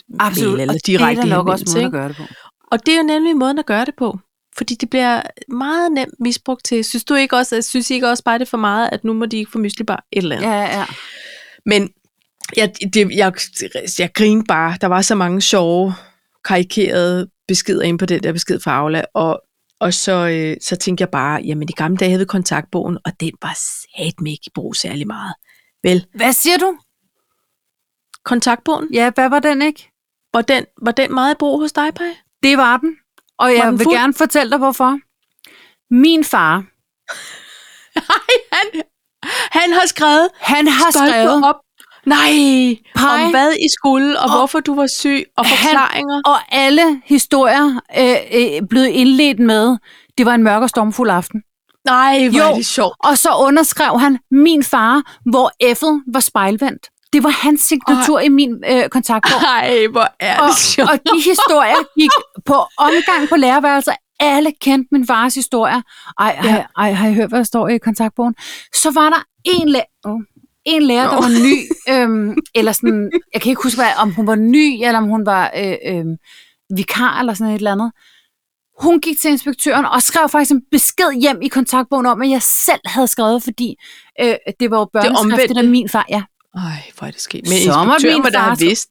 Speaker 1: mail, eller
Speaker 2: og
Speaker 1: direkte
Speaker 2: det er der nok også
Speaker 1: henvendelse,
Speaker 2: måden at
Speaker 1: ikke?
Speaker 2: gøre det på.
Speaker 1: Og det er jo nemlig måden at gøre det på. Fordi det bliver meget nemt misbrugt til, synes du ikke også, synes I ikke også bare det er for meget, at nu må de ikke få myslibar et eller andet.
Speaker 2: Ja, ja.
Speaker 1: Men jeg, det, jeg, jeg grinede bare. Der var så mange sjove, karikerede beskeder inde på den der besked fra Aula, og, og så, øh, så tænkte jeg bare, jamen i gamle dage havde vi kontaktbogen, og den var satme ikke i brug særlig meget. Vel,
Speaker 2: Hvad siger du?
Speaker 1: kontaktbogen,
Speaker 2: Ja, hvad var den ikke?
Speaker 1: var den, var den meget i brug hos dig, Paj? *laughs*
Speaker 2: Det var den. Og jeg
Speaker 1: den
Speaker 2: vil
Speaker 1: fuld?
Speaker 2: gerne fortælle dig, hvorfor. Min far,
Speaker 1: han, han har skrevet
Speaker 2: han har
Speaker 1: stolper
Speaker 2: skrevet,
Speaker 1: op. Nej,
Speaker 2: Pej.
Speaker 1: om hvad I skulle, og,
Speaker 2: Og-
Speaker 1: og hvorfor du var syg, og
Speaker 2: Han-
Speaker 1: forklaringer.
Speaker 2: og alle historier øh, øh, blev indledt med, det var en mørk og stormfuld aften.
Speaker 1: Nej, hvor
Speaker 2: Jo.
Speaker 1: er det sjovt.
Speaker 2: Og så underskrev han min far, hvor F'et var spejlvendt. Det var hans signatur i min øh, kontaktbog.
Speaker 1: Nej, hvor er det
Speaker 2: Og,
Speaker 1: sjovt.
Speaker 2: og de historier gik på omgang på lærerværelser. Alle kendte min fars historier. Ej, ej, ej, har I hørt, hvad der står i kontaktbogen? Så var der en, læ- oh, en lærer, der
Speaker 1: Nå.
Speaker 2: var ny, øhm, eller sådan, jeg kan ikke huske, hvad, om hun var ny, eller om hun var øh, øh, vikar, eller sådan et eller andet. Hun gik til inspektøren og skrev faktisk en besked hjem i kontaktbogen om, at jeg selv havde skrevet, fordi øh, det var jo børneskrift, det
Speaker 1: omvendte.
Speaker 2: af min far. Ja,
Speaker 1: Ej, hvor er det sket. Men
Speaker 2: Så måtte
Speaker 1: inspektøren
Speaker 2: min
Speaker 1: må da
Speaker 2: far
Speaker 1: have
Speaker 2: så-
Speaker 1: vidst.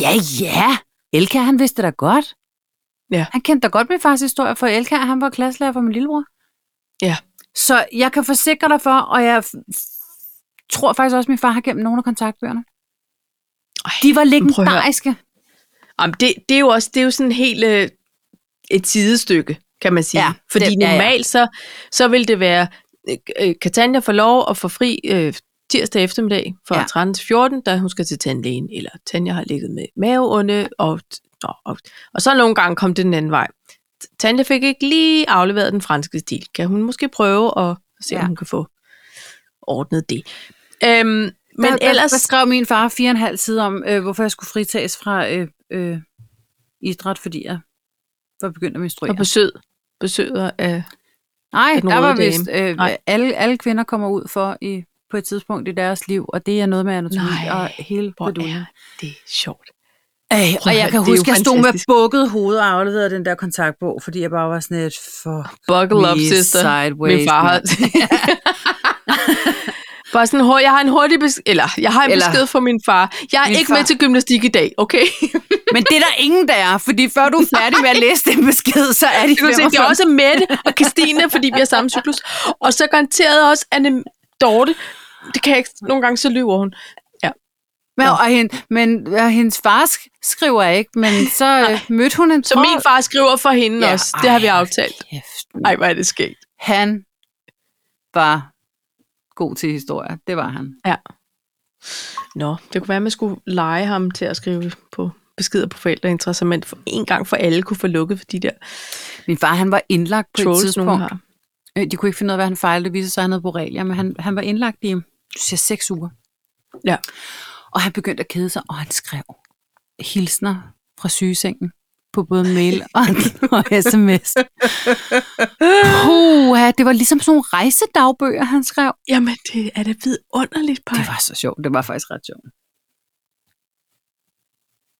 Speaker 2: Ja, ja. Elka, han vidste det da godt.
Speaker 1: Ja.
Speaker 2: Han kendte da godt min fars historie, for Elka, han var klasselærer for min lillebror.
Speaker 1: Ja.
Speaker 2: Så jeg kan forsikre dig for, og jeg f- f- tror faktisk også, at min far har gemt nogle af kontaktbøgerne.
Speaker 1: Ej,
Speaker 2: De var
Speaker 1: men prøv at høre.
Speaker 2: legendariske.
Speaker 1: Jamen, det, det, er jo også, det er jo sådan helt øh, et sidestykke, kan man sige.
Speaker 2: Ja,
Speaker 1: Ja, Fordi
Speaker 2: det-
Speaker 1: det,
Speaker 2: ja, ja.
Speaker 1: normalt så, så vil det være, øh, øh, Katanja får lov at få fri øh, tirsdag eftermiddag fra
Speaker 2: Ja.
Speaker 1: ja. 13 til 14, da hun skal til tandlægen, eller Tanja har ligget med maveonde, og, og, og, og så nogle gange kom det den anden vej. Tanja fik ikke lige afleveret den franske stil. Kan hun måske prøve at se, ja.
Speaker 2: Ja.
Speaker 1: om hun kan få ordnet det? Øhm, men
Speaker 2: Men der, ellers...
Speaker 1: ellers...
Speaker 2: Der, der skrev min far fire og en halv side om, øh, hvorfor jeg skulle fritages fra øh, øh, idræt, fordi jeg var begyndt at menstruere.
Speaker 1: og besøg, besøger af...
Speaker 2: Nej,
Speaker 1: den
Speaker 2: der
Speaker 1: røde
Speaker 2: var
Speaker 1: dame.
Speaker 2: vist, øh,
Speaker 1: Nej.
Speaker 2: alle, alle kvinder kommer ud for i, på et tidspunkt i deres liv, og det er noget med anatomi
Speaker 1: Nej,
Speaker 2: og hele
Speaker 1: Hvor
Speaker 2: beduljen.
Speaker 1: er det sjovt.
Speaker 2: Ej,
Speaker 1: at
Speaker 2: og jeg
Speaker 1: høre,
Speaker 2: kan
Speaker 1: det er
Speaker 2: huske, at
Speaker 1: jo
Speaker 2: jeg stod med
Speaker 1: fantastisk.
Speaker 2: bukket hoved og afleverede den der kontaktbog, fordi jeg bare var sådan et for
Speaker 1: Buckle up,
Speaker 2: me
Speaker 1: sister.
Speaker 2: sideways.
Speaker 1: Min far har...
Speaker 2: mand.
Speaker 1: *laughs* Bare sådan, "Hov, jeg har en hurtig besked, eller jeg har en
Speaker 2: Eller-
Speaker 1: eller, besked fra min far. Jeg er
Speaker 2: Min
Speaker 1: ikke
Speaker 2: far-
Speaker 1: med til gymnastik i dag, *laughs* okay?
Speaker 2: Men det er der ingen, der er, fordi før
Speaker 1: *laughs*
Speaker 2: du er færdig med at læse den besked, så er de
Speaker 1: Du kan se, det er
Speaker 2: 45.
Speaker 1: også Mette og Christine, fordi vi har samme cyklus. Og så garanteret også Anne Dorte. Det kan jeg ikke. Nogle gange så lyver hun.
Speaker 2: Men, og hende, men og hendes far sk- skriver ikke, men så øh, mødte hun en
Speaker 1: Så min far skriver for hende ja, også. Det har vi aftalt.
Speaker 2: Kæft,
Speaker 1: Ej, hvor er det skægt.
Speaker 2: han var god til historier. Det var han.
Speaker 1: Nå, det kunne være, at man skulle lege ham til at skrive på beskeder på forældreintra, så man for en gang for alle kunne få lukket for de der
Speaker 2: Min far, han var indlagt på et
Speaker 1: trolls, nogen
Speaker 2: tidspunkt.
Speaker 1: har.
Speaker 2: Øh, De kunne ikke finde ud af, hvad han fejlede. Det viste sig, at han havde borrelia, men han, han var indlagt i, du siger, seks uger.
Speaker 1: Ja.
Speaker 2: Og han begyndte at kede sig, og han skrev hilsner fra sygesengen på både *laughs* mail og, og sms. Puh, det var ligesom sådan nogle rejsedagbøger, han skrev.
Speaker 1: Jamen, det er da vidunderligt, Paj.
Speaker 2: Det var så sjovt. Det var faktisk ret sjovt.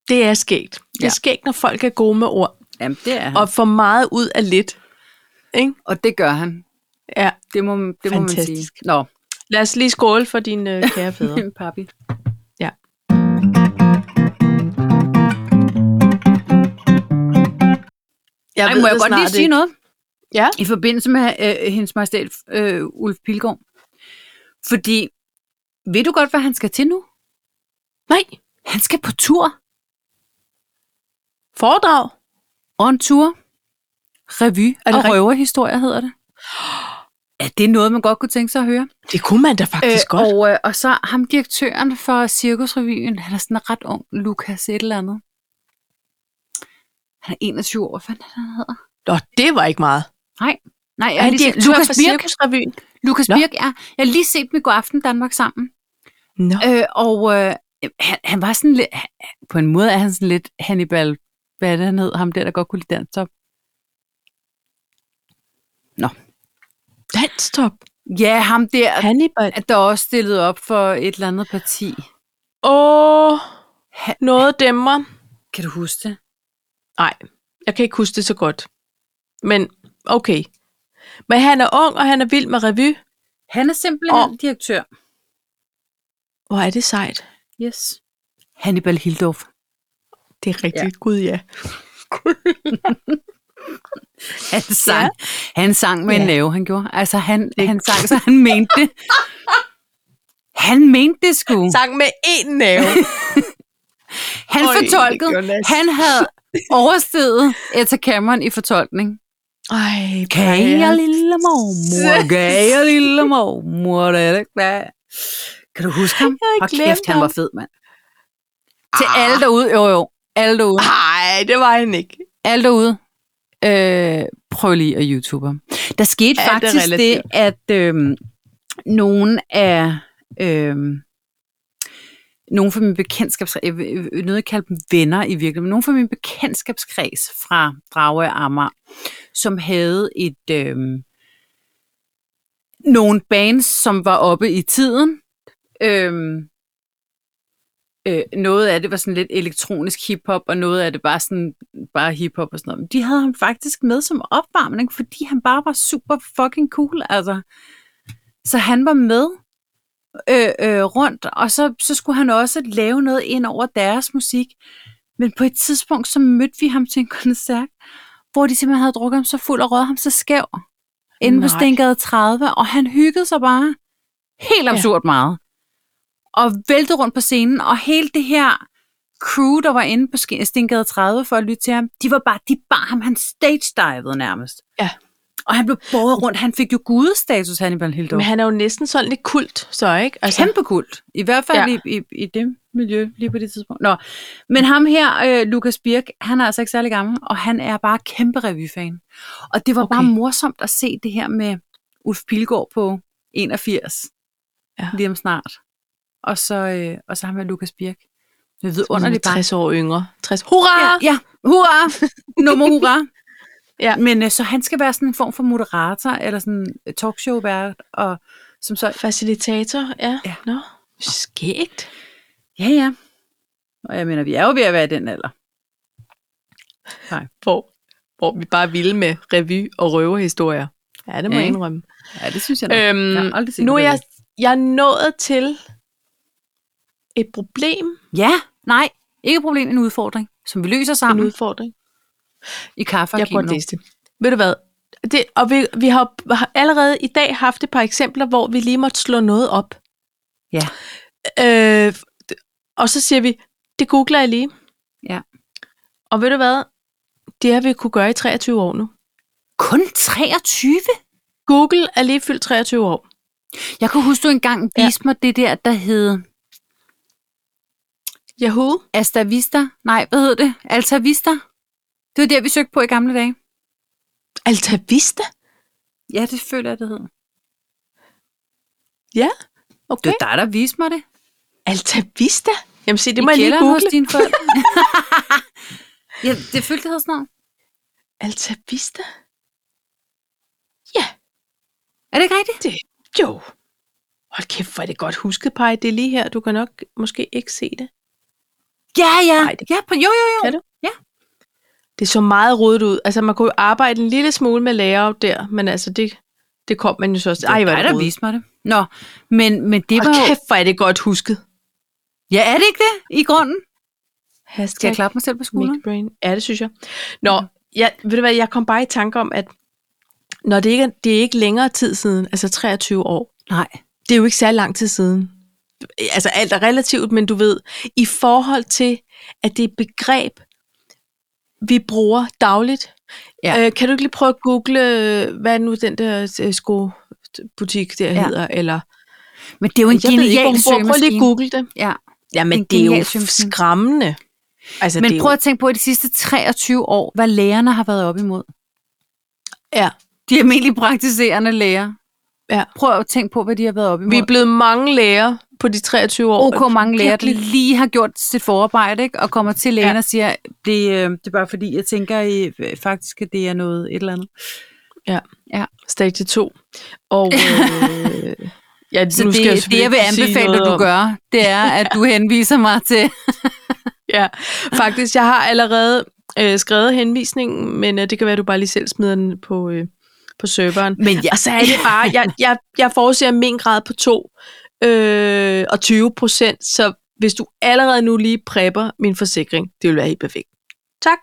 Speaker 1: Det er skægt. Det er
Speaker 2: Ja.
Speaker 1: skægt, når folk er gode med ord,
Speaker 2: Jamen, det er han.
Speaker 1: og får meget ud af lidt. Ikke?
Speaker 2: og det gør han.
Speaker 1: Ja.
Speaker 2: Det må, det må man sige.
Speaker 1: Fantastisk.
Speaker 2: Nå,
Speaker 1: Lad os lige skåle for dine øh, *laughs* kære fædre.
Speaker 2: *laughs* papi.
Speaker 1: Ja. Jeg
Speaker 2: Ej, må jeg godt lige sige noget?
Speaker 1: Ja.
Speaker 2: I forbindelse med øh, hendes majestæt øh, Ulf Pilgaard. Fordi, ved du godt, hvad han skal til nu?
Speaker 1: Nej,
Speaker 2: Han skal på tur.
Speaker 1: Foredrag?
Speaker 2: On tour. Revy
Speaker 1: Er det
Speaker 2: og
Speaker 1: rigtigt?
Speaker 2: røverhistorier hedder det. *gasps* Ja, det er noget, man godt kunne tænke sig at høre.
Speaker 1: Det kunne man da faktisk øh, godt.
Speaker 2: Og, øh, og så ham direktøren for Cirkusrevyen, han er sådan ret ung, Lukas et eller andet. Han er 21 år, hvad fanden er det, han hedder?
Speaker 1: Nå, det var ikke meget.
Speaker 2: Nej,
Speaker 1: Er
Speaker 2: jeg har
Speaker 1: han
Speaker 2: lige set,
Speaker 1: direktør
Speaker 2: Lukas
Speaker 1: for
Speaker 2: Birk.
Speaker 1: Cirkusrevyen?
Speaker 2: Lukas
Speaker 1: Nå.
Speaker 2: Birk, ja. Jeg har lige set dem i går aften Danmark sammen.
Speaker 1: Nå.
Speaker 2: Øh, og øh, han, han var sådan lidt, han- på en måde er han sådan lidt Hannibal, hvad er det, han hed, ham der, der godt kunne lide danstop.
Speaker 1: Danstop.
Speaker 2: Ja, ham der, han...
Speaker 1: Hannibal.
Speaker 2: der også stillede op for et eller andet parti.
Speaker 1: Åh,
Speaker 2: Han-
Speaker 1: noget dæmmer.
Speaker 2: Kan du huske det?
Speaker 1: Nej, jeg kan ikke huske det så godt. Men okay. Men han er ung, og han er vild med revy.
Speaker 2: Han er simpelthen
Speaker 1: Og-
Speaker 2: direktør.
Speaker 1: Hvor er det sejt.
Speaker 2: Yes. Hannibal Hildorf.
Speaker 1: Det er rigtigt. Ja. Gud ja. Gud.
Speaker 2: Han sang, ja. han sang med ja. en
Speaker 1: Ja.
Speaker 2: lave, han gjorde. Altså, han, han sang, så han mente det. Han mente det sgu.
Speaker 1: Sang med én næve.
Speaker 2: *laughs* Han
Speaker 1: Øj,
Speaker 2: fortolkede.
Speaker 1: Jonas.
Speaker 2: Han havde overstedet Etta Cameron i fortolkning.
Speaker 1: Ej,
Speaker 2: Kære
Speaker 1: Brian.
Speaker 2: lille
Speaker 1: *laughs*
Speaker 2: mormor, kære lille mormor, det er ikke hvad. Kan du huske ham?
Speaker 1: har
Speaker 2: Hold
Speaker 1: glemt
Speaker 2: kæft, han
Speaker 1: ham.
Speaker 2: var fed, mand. Til
Speaker 1: Ah.
Speaker 2: alle derude, jo jo, alle derude,
Speaker 1: Ej, det var han ikke.
Speaker 2: alle derude. Øh, prøv lige at YouTube ham. Der skete
Speaker 1: Alt er
Speaker 2: faktisk det,
Speaker 1: relativt.
Speaker 2: at øh, nogen af... Øh, nogen fra min bekendtskabskreds, øh, jeg vil- jeg vil nødt kalde dem venner i virkeligheden, men nogen fra min bekendtskabskreds fra Drage og Amager, som havde et, øh, nogle bands, som var oppe i tiden. Øh, øh, noget af det var sådan lidt elektronisk hiphop, og noget af det var sådan bare hiphop og sådan noget. Men de havde ham faktisk med som opvarmning, fordi han bare var super fucking cool, altså. Så han var med øh, øh, rundt, og så, så skulle han også lave noget ind over deres musik. Men på et tidspunkt, så mødte vi ham til en *laughs* koncert, hvor de simpelthen havde drukket ham så fuld og røget ham så skæv. Inden på
Speaker 1: Nej.
Speaker 2: Stengade 30, og han hyggede sig bare helt
Speaker 1: Ja.
Speaker 2: absurd meget. Og væltede rundt på scenen, og hele det her crew, der var inde på Ske- Stengade 30 for at lytte til ham, de var bare, de bar ham, han stage-divede nærmest.
Speaker 1: Ja.
Speaker 2: Og han blev båret rundt, han fik jo gudestatus, Hannibal Hildorf.
Speaker 1: Men han er jo næsten sådan lidt kult, så ikke?
Speaker 2: Altså, kæmpe kult. I hvert fald ja.
Speaker 1: Ja.
Speaker 2: i, i, i det miljø lige på det tidspunkt. Nå. Men ham her, øh, Lukas Birk, han er altså ikke særlig gammel, og han er bare kæmpe revyfan. Og det var okay. bare
Speaker 1: Okay.
Speaker 2: morsomt at se det her med Ulf Pilgaard på 81.
Speaker 1: Ja.
Speaker 2: Lige om snart. Og så, øh, og så ham her Lukas Birk. Det ved
Speaker 1: Under
Speaker 2: underligt bare.
Speaker 1: 60 år yngre. 60. Hurra!
Speaker 2: Ja, ja, hurra! Nummer hurra!
Speaker 1: *laughs* Ja.
Speaker 2: Men øh, så han skal være sådan en form for moderator, eller sådan en talkshow-vært, og som så
Speaker 1: Facilitator, ja.
Speaker 2: Ja.
Speaker 1: Nå, skægt.
Speaker 2: Ja, ja. Og jeg mener, vi er jo ved at være i den alder.
Speaker 1: Hvor, hvor vi bare ville med revy og røverhistorier. Ja, det må
Speaker 2: Ja,
Speaker 1: jeg
Speaker 2: ikke?
Speaker 1: indrømme.
Speaker 2: Ja, det synes jeg
Speaker 1: Øhm,
Speaker 2: Jeg har aldrig set
Speaker 1: nu er
Speaker 2: noget
Speaker 1: jeg, jeg er nået til et problem,
Speaker 2: Ja, nej. Ikke et problem, en udfordring, som vi løser
Speaker 1: en
Speaker 2: sammen ud...
Speaker 1: udfordring.
Speaker 2: i kaffe og
Speaker 1: Jeg prøver at
Speaker 2: kino.
Speaker 1: læse det. Ved du hvad? Det, og vi, vi har jo har allerede i dag haft et par eksempler, hvor vi lige måtte slå noget op.
Speaker 2: Ja.
Speaker 1: Øh, og så siger vi, det googler jeg lige.
Speaker 2: Ja.
Speaker 1: Og ved du hvad? Det har vi kunne gøre i 23 år nu.
Speaker 2: Kun 23?
Speaker 1: Google er lige fyldt 23 år.
Speaker 2: Jeg kunne huske, du engang
Speaker 1: Ja.
Speaker 2: viste ja. mig det der, der hed
Speaker 1: Yahoo?
Speaker 2: Asta Vista. Nej, hvad hed det? Alta Vista. Det var der, vi søgte på i gamle dage.
Speaker 1: Altavista?
Speaker 2: Ja, det føler jeg, det hed. Det
Speaker 1: Okay.
Speaker 2: var dig, der viste mig det.
Speaker 1: Altavista? Jamen se, det
Speaker 2: I
Speaker 1: må jeg lige
Speaker 2: kælderen hos
Speaker 1: google.
Speaker 2: dine forældre. *laughs* ja, det følte, det hed sådan noget.
Speaker 1: Altavista?
Speaker 2: Er det ikke rigtigt?
Speaker 1: Jo. Hold kæft, hvor er det godt husket, Paj. Det er lige her. Du kan nok måske ikke se det.
Speaker 2: Ja, ja.
Speaker 1: Nej, det-
Speaker 2: ja på, jo, jo, jo.
Speaker 1: Kan du? Det så meget rodet ud. Altså, man kunne jo arbejde en lille smule med layout der, men altså, det, det kom man jo så også. Ej, hvor er
Speaker 2: dig,
Speaker 1: det
Speaker 2: der
Speaker 1: rodet.
Speaker 2: viste mig det. Nå, men, men det var
Speaker 1: Hold
Speaker 2: jo...
Speaker 1: kæft, hvor er det godt husket.
Speaker 2: Ja, er det ikke det i grunden? Skal jeg
Speaker 1: Hashtag Mm.
Speaker 2: klappe mig selv på skulderen?
Speaker 1: Midbrain. Ja, det synes jeg. Nå, jeg, ved du hvad, jeg kom bare i tanke om, at når det ikke er, det er ikke længere tid siden, altså 23 år,
Speaker 2: Nej.
Speaker 1: det er jo ikke særlig lang tid siden, altså alt er relativt, men du ved, i forhold til, at det er et begreb, vi bruger dagligt.
Speaker 2: Ja.
Speaker 1: Ja. Øh, kan du ikke lige prøve at google, øh, hvad nu den der øh, skobutik der
Speaker 2: Ja.
Speaker 1: ja. hedder? Eller,
Speaker 2: Men det er jo en
Speaker 1: jeg ved ikke, hvor
Speaker 2: genial
Speaker 1: hun bor. Prøv lige at
Speaker 2: søgemaskine.
Speaker 1: google det.
Speaker 2: Ja.
Speaker 1: Jamen,
Speaker 2: En
Speaker 1: det er jo
Speaker 2: genial søgemaskine.
Speaker 1: skræmmende. Altså, det
Speaker 2: Men
Speaker 1: er
Speaker 2: prøv
Speaker 1: jo,
Speaker 2: at tænke på, at de sidste 23 år, hvad lægerne har været op imod.
Speaker 1: ja,
Speaker 2: De almindelige praktiserende læger.
Speaker 1: Ja.
Speaker 2: Prøv at tænke på, hvad de har været op imod.
Speaker 1: vi er blevet mange læger på de 23 år.
Speaker 2: OK mange læger, der
Speaker 1: virkelig.
Speaker 2: lige har gjort sit forarbejde, ikke? og kommer til lægen ja. og siger, det, øh, det er bare fordi, jeg tænker I, øh, faktisk, at det er noget et eller andet.
Speaker 1: Stage 2. *laughs* Og øh, ja,
Speaker 2: Så
Speaker 1: nu skal jeg
Speaker 2: det, det,
Speaker 1: selvfølgelig
Speaker 2: jeg vil
Speaker 1: ikke sige
Speaker 2: anbefale,
Speaker 1: noget
Speaker 2: at du
Speaker 1: om-
Speaker 2: gør, det er, at du henviser mig til...
Speaker 1: Ja, faktisk, jeg har allerede øh, skrevet henvisningen, men øh, det kan være, at du bare lige selv smider den på, øh, på serveren.
Speaker 2: *laughs* Men
Speaker 1: Og så er det bare, jeg, jeg, jeg forudser min grad på 2 øh, og 20 procent, så hvis du allerede nu lige prepper min forsikring, det vil være helt perfekt. Tak.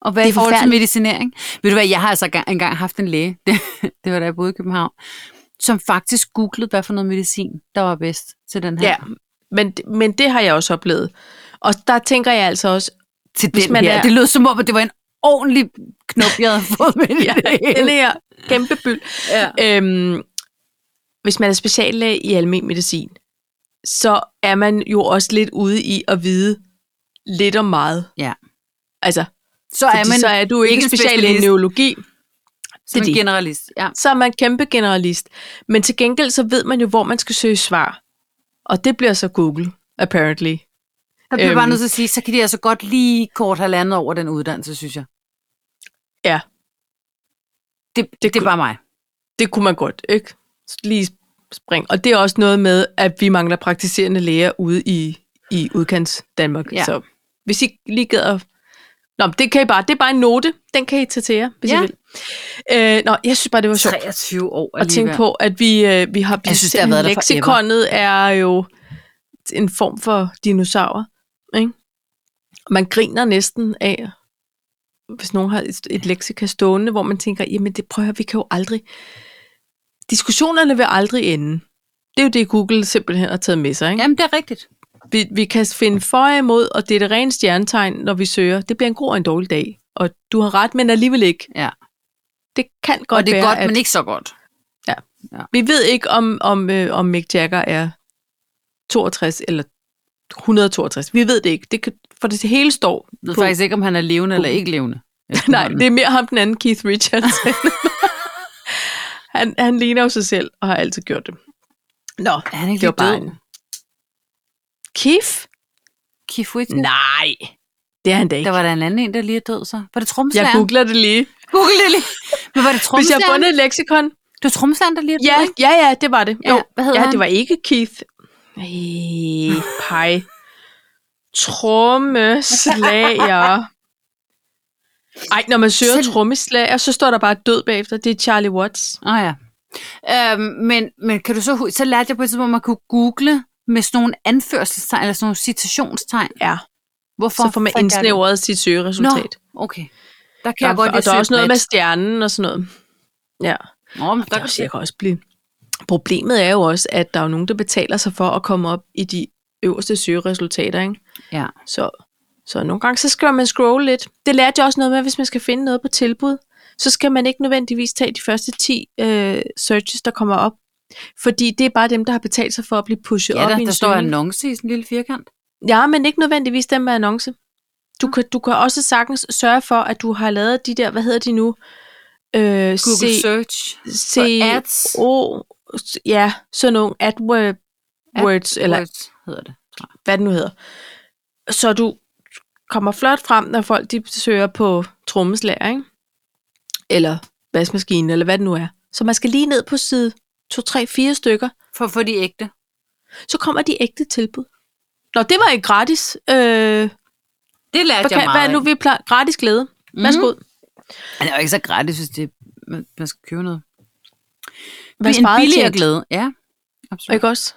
Speaker 2: Og hvad
Speaker 1: Det
Speaker 2: det
Speaker 1: er
Speaker 2: er i forhold til
Speaker 1: forfærdeligt.
Speaker 2: medicinering? Ved du hvad, jeg har altså ga- engang haft en læge, *laughs* det, det var da jeg boede i København, som faktisk googlede, hvad for noget medicin, der var bedst til den her.
Speaker 1: Ja, men, men det har jeg også oplevet. Og der tænker jeg altså også,
Speaker 2: til
Speaker 1: Hvis
Speaker 2: den
Speaker 1: man
Speaker 2: her.
Speaker 1: er-
Speaker 2: Det lød som om, at det var en ordentlig knop, jeg havde fået med
Speaker 1: ja,
Speaker 2: *laughs* ja,
Speaker 1: den her kæmpe byld.
Speaker 2: ja.
Speaker 1: Øhm, hvis man er speciallæge i almen medicin, så er man jo også lidt ude i at vide lidt om meget.
Speaker 2: Ja.
Speaker 1: Altså,
Speaker 2: Så
Speaker 1: fordi
Speaker 2: er man
Speaker 1: så er du ikke,
Speaker 2: ikke en
Speaker 1: speciallæge i
Speaker 2: specialist.
Speaker 1: neurologi,
Speaker 2: som
Speaker 1: det.
Speaker 2: en generalist. Ja.
Speaker 1: så er man kæmpe generalist. Men til gengæld så ved man jo, hvor man skal søge svar. Og det bliver så Google, apparently.
Speaker 2: Der bliver øhm. bare
Speaker 1: Øhm.
Speaker 2: nødt til at sige, så kan de altså godt lige kort have landet over den uddannelse, synes jeg.
Speaker 1: Ja.
Speaker 2: Det, det, det er
Speaker 1: kunne-
Speaker 2: bare mig.
Speaker 1: Det kunne man godt, ikke? Lige spring. Og det er også noget med, at vi mangler praktiserende læger ude i, i udkants Danmark.
Speaker 2: Ja.
Speaker 1: Så hvis I lige gider... Nå, men det kan I bare. Det er bare en note. Den kan I tage til jer, hvis
Speaker 2: Ja.
Speaker 1: I vil. Øh, nå, jeg synes bare, det var sjovt
Speaker 2: 23 år
Speaker 1: at tænke på, at vi, øh, vi har...
Speaker 2: Jeg synes, det har været der forever.
Speaker 1: Leksikonet er jo en form for dinosaurer, ikke? Og Man griner næsten af, hvis nogen har et, et leksika stående, hvor man tænker, jamen det prøver vi kan jo aldrig... Diskussionerne vil aldrig ende. Det er jo det, Google simpelthen har taget med sig. Ikke?
Speaker 2: Jamen, det er rigtigt.
Speaker 1: Vi, vi kan finde for og imod, og det er det rene stjernetegn, når vi søger. Det bliver en god og en dårlig dag. Og du har ret, men alligevel ikke.
Speaker 2: Ja.
Speaker 1: Det kan godt
Speaker 2: Og det er
Speaker 1: være,
Speaker 2: godt,
Speaker 1: at...
Speaker 2: men ikke så godt.
Speaker 1: Vi ved ikke, om, om, øh, om Mick Jagger er 62 eller 162. Vi ved det ikke, det kan, for det hele står.
Speaker 2: Jeg ved faktisk ikke, om han er levende eller ikke levende.
Speaker 1: *laughs* Nej, det er mere ham den anden Keith Richards. *laughs* han, han ligner jo sig selv og har altid gjort det. Nå,
Speaker 2: er han
Speaker 1: det
Speaker 2: ikke
Speaker 1: var
Speaker 2: lige
Speaker 1: bare
Speaker 2: død.
Speaker 1: en. Keith?
Speaker 2: Keith Whitney.
Speaker 1: Nej, det er han da ikke.
Speaker 2: Der var der en anden en, der lige er død, så. Var det
Speaker 1: Jeg
Speaker 2: trommeslageren?
Speaker 1: googler det lige.
Speaker 2: Google det lige. Men var det
Speaker 1: Hvis jeg
Speaker 2: trommeslageren?
Speaker 1: bundet et leksikon.
Speaker 2: Det var trommeslageren, der lige er død,
Speaker 1: Ja,
Speaker 2: ikke?
Speaker 1: ja, ja, det var det.
Speaker 2: Ja, hvad hedder
Speaker 1: ja,
Speaker 2: han?
Speaker 1: det var ikke Keith. Ej, pej. Trommeslager. Ej, når man søger
Speaker 2: Selv-
Speaker 1: trommeslager, så står der bare død bagefter. Det er Charlie Watts.
Speaker 2: Ah, ja. Øhm, men, men kan du så, hu- så lærte jeg på et tidspunkt, at man kunne google med sådan nogle anførselstegn, eller sådan nogle citationstegn.
Speaker 1: Ja,
Speaker 2: Hvorfor
Speaker 1: så får man
Speaker 2: fandt jeg det?
Speaker 1: indsnævret sit søgeresultat.
Speaker 2: Okay. Der kan jeg
Speaker 1: der,
Speaker 2: godt
Speaker 1: og der er også noget med stjernen og sådan noget. Ja,
Speaker 2: Nå, men der
Speaker 1: der kan
Speaker 2: kan jeg
Speaker 1: sikkert også blive. Problemet er jo også, at der er jo nogen, der betaler sig for at komme op i de øverste søgeresultater, ikke?
Speaker 2: Ja.
Speaker 1: Så, så nogle gange, så skal man scrolle lidt. Det lærte jeg også noget med, at hvis man skal finde noget på tilbud, så skal man ikke nødvendigvis tage de første 10 øh, searches, der kommer op. Fordi det er bare dem, der har betalt sig for at blive pushet
Speaker 2: Ja,
Speaker 1: op
Speaker 2: der,
Speaker 1: i en
Speaker 2: der står
Speaker 1: søgning.
Speaker 2: annonce i sådan en lille firkant.
Speaker 1: Ja, men ikke nødvendigvis dem med annonce. Du kan, du kan også sagtens sørge for, at du har lavet de der, hvad hedder de nu? Øh,
Speaker 2: Google
Speaker 1: C-
Speaker 2: Search.
Speaker 1: C
Speaker 2: for ads.
Speaker 1: O ja, sådan nogle AdWords, words, eller
Speaker 2: Words hedder det. tror jeg.
Speaker 1: hvad det nu hedder. Så du kommer flot frem, når folk de søger på trommeslager, ikke? Eller vaskemaskinen, eller hvad det nu er. Så man skal lige ned på side 2, 3, 4 stykker,
Speaker 2: For at få de ægte.
Speaker 1: så kommer de ægte tilbud. Nå, det var ikke gratis. Øh, hvad,
Speaker 2: Det lærte jeg
Speaker 1: kan, hvad er
Speaker 2: meget
Speaker 1: nu vi plejer? Gratis glæde.
Speaker 2: Mhm.
Speaker 1: Værsgo. Mm-hmm.
Speaker 2: af. Det er jo ikke så gratis, hvis det, man, man skal købe noget.
Speaker 1: Hvad
Speaker 2: en
Speaker 1: sparede
Speaker 2: billigere
Speaker 1: tjent?
Speaker 2: glæde. Ja, absolut.
Speaker 1: Ikke også?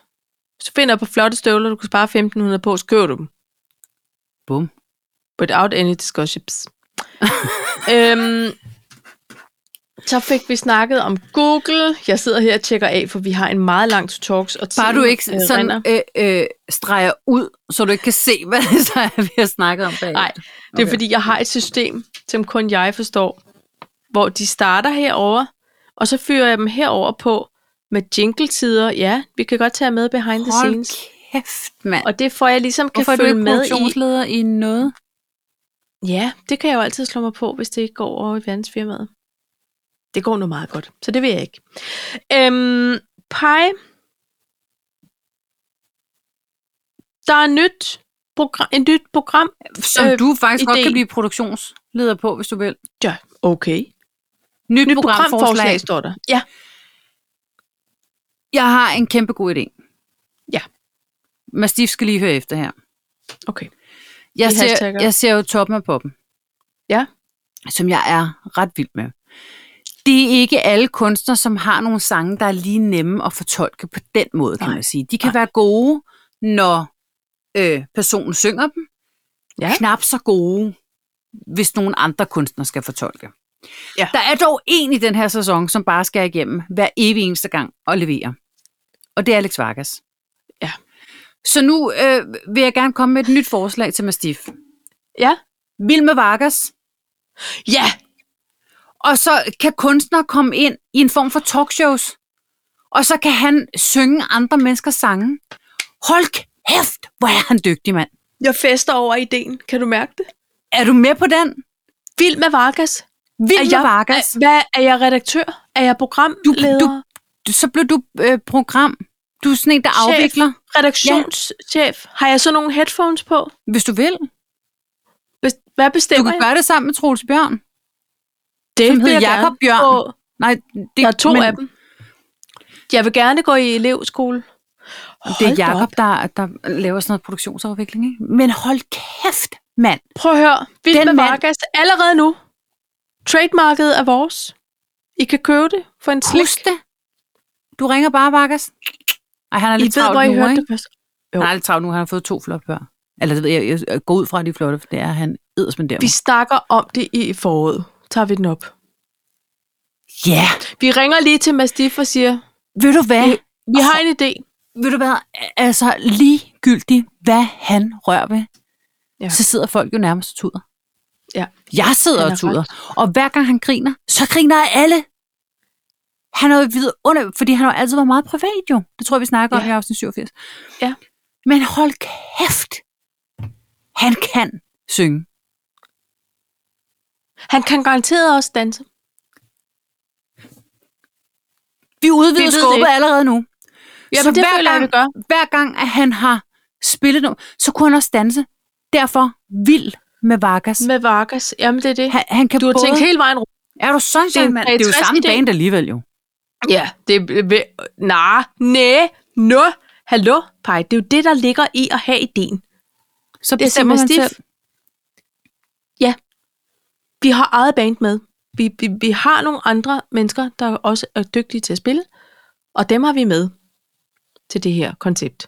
Speaker 1: Hvis du finder på flotte støvler, du kan spare 1.500 på, så køber du dem.
Speaker 2: Bum. *laughs*
Speaker 1: Without any discussions. øhm, Så fik vi snakket om Google. Jeg sidder her og tjekker af, for vi har en meget lang to talks. Og
Speaker 2: Bare du
Speaker 1: tiden,
Speaker 2: ikke
Speaker 1: øh, rinder.
Speaker 2: sådan øh, øh, streger ud, så du ikke kan se, *laughs* hvad det så er, vi har snakket om bag.
Speaker 1: Nej, det er okay. fordi, jeg har et system, som kun jeg forstår, hvor de starter herover, og så fyrer jeg dem herover på med jingletider. Ja, vi kan godt tage med behind the
Speaker 2: Hold
Speaker 1: scenes.
Speaker 2: kæft, mand.
Speaker 1: Og det får jeg ligesom kan
Speaker 2: Hvorfor er du
Speaker 1: følge
Speaker 2: ikke
Speaker 1: med i.
Speaker 2: produktionsleder i noget?
Speaker 1: Ja, det kan jeg jo altid slå mig på, hvis det ikke går over i verdensfirmaet. Det går nu meget godt, så det vil jeg ikke. Øhm, pej. Der er nyt program, et nyt program.
Speaker 2: Som
Speaker 1: Øh,
Speaker 2: øh, du faktisk godt
Speaker 1: idé.
Speaker 2: kan blive produktionsleder på, hvis du vil.
Speaker 1: Ja, okay.
Speaker 2: Nyt,
Speaker 1: Nyt programforslag, står der. Ja.
Speaker 2: Jeg har en kæmpe god idé.
Speaker 1: Ja.
Speaker 2: Men Steve skal lige høre efter her.
Speaker 1: Okay.
Speaker 2: Jeg
Speaker 1: Vi
Speaker 2: ser,
Speaker 1: hashtagger.
Speaker 2: jeg ser jo toppen af poppen.
Speaker 1: Ja.
Speaker 2: Som jeg er ret vild med. Det er ikke alle kunstnere, som har nogle sange, der er lige nemme at fortolke på den måde, kan
Speaker 1: Nej.
Speaker 2: man sige. De kan være gode, når øh, personen synger dem.
Speaker 1: Ja.
Speaker 2: Knap så gode, hvis nogen andre kunstnere skal fortolke.
Speaker 1: Ja.
Speaker 2: Der er dog en i den her sæson, som bare skal igennem hver evig eneste gang og levere. Og det er Alex Vargas.
Speaker 1: Ja.
Speaker 2: Så nu øh, vil jeg gerne komme med et nyt forslag til Mastif.
Speaker 1: Ja.
Speaker 2: Vild med Vargas.
Speaker 1: Ja,
Speaker 2: Og så kan kunstnere komme ind i en form for talkshows. Og så kan han synge andre menneskers sange. Hold kæft, hvor er han dygtig, mand.
Speaker 1: jeg fester over ideen. Kan du mærke det?
Speaker 2: Er du med på den?
Speaker 1: Vild med Vargas.
Speaker 2: Vild med
Speaker 1: jeg,
Speaker 2: Vargas.
Speaker 1: Er, hvad, er jeg redaktør? Er jeg programleder?
Speaker 2: Du- du- Så blev du øh, program. Du er sådan en, der
Speaker 1: Chef.
Speaker 2: afvikler,
Speaker 1: Redaktionschef? Har jeg så nogle headphones på?
Speaker 2: hvis du vil.
Speaker 1: Bes- Hvad
Speaker 2: Du
Speaker 1: bestemmer
Speaker 2: kan gøre det sammen med Troels Bjørn.
Speaker 1: jeg?
Speaker 2: som
Speaker 1: vil
Speaker 2: hedder
Speaker 1: jeg gerne
Speaker 2: Jakob Bjørn.
Speaker 1: gå-
Speaker 2: Nej, det,
Speaker 1: Der er to men... af dem. Jeg vil gerne gå i elevskole.
Speaker 2: Det er
Speaker 1: Hold da op.
Speaker 2: Jakob, der, der laver sådan noget produktionsafvikling. Ikke? Men hold kæft, mand.
Speaker 1: Prøv at høre. Vild
Speaker 2: Den
Speaker 1: med
Speaker 2: mand-
Speaker 1: Vargas allerede nu. Trademarket er vores. I kan købe det for en slik.
Speaker 2: Husk det. Du ringer bare, Vargas. Ej, han er
Speaker 1: I
Speaker 2: lidt
Speaker 1: ved,
Speaker 2: travlt
Speaker 1: hvor I
Speaker 2: nu,
Speaker 1: hørte
Speaker 2: ikke?
Speaker 1: det først.
Speaker 2: Han er lidt travlt nu, han har fået to flotte børn. Eller det ved jeg, jeg- jeg går ud fra, at de er flotte, for det er han eddersmænd der.
Speaker 1: Vi snakker om det i foråret. Tager vi den op.
Speaker 2: Ja,
Speaker 1: Vi ringer lige til Mastiff og siger,
Speaker 2: ved du hvad?
Speaker 1: vi har en idé.
Speaker 2: Ved du hvad? Altså, ligegyldigt, hvad han rører ved,
Speaker 1: Ja.
Speaker 2: ja. så sidder folk jo nærmest og tuder.
Speaker 1: Ja.
Speaker 2: Jeg sidder
Speaker 1: Han er
Speaker 2: og tuder. Og hver gang han griner, så griner alle. Han er jo vidunder, fordi han har jo altid været meget privat jo. Det tror jeg, vi snakker ja. om
Speaker 1: Ja.
Speaker 2: i afsnit 87.
Speaker 1: Ja.
Speaker 2: Men hold kæft. Han kan synge.
Speaker 1: Han kan garanteret også danse.
Speaker 2: Vi
Speaker 1: Vi
Speaker 2: udvider
Speaker 1: ved det
Speaker 2: skubbet
Speaker 1: ikke.
Speaker 2: allerede nu.
Speaker 1: Jamen,
Speaker 2: så
Speaker 1: det
Speaker 2: hver
Speaker 1: føler jeg,
Speaker 2: gang,
Speaker 1: vi gør.
Speaker 2: hver gang, at han har spillet noget, så kunne han også danse. Derfor vild med Vargas.
Speaker 1: Med Vargas. Jamen, det er det.
Speaker 2: Han, han kan
Speaker 1: Du har
Speaker 2: både...
Speaker 1: tænkt hele vejen rundt.
Speaker 2: Er du sådan,
Speaker 1: er en
Speaker 2: mand? Det er jo
Speaker 1: 63
Speaker 2: samme
Speaker 1: idé.
Speaker 2: band alligevel jo.
Speaker 1: Ja, det er... Nej, nej, nå. Hallo, Pej. Det er jo det, der ligger i at have idéen.
Speaker 2: Så
Speaker 1: Det er
Speaker 2: bestemmer man
Speaker 1: simpelthen
Speaker 2: selv.
Speaker 1: stift. Vi har eget band med. Vi, vi, vi har nogle andre mennesker, der også er dygtige til at spille, og dem har vi med til det her koncept.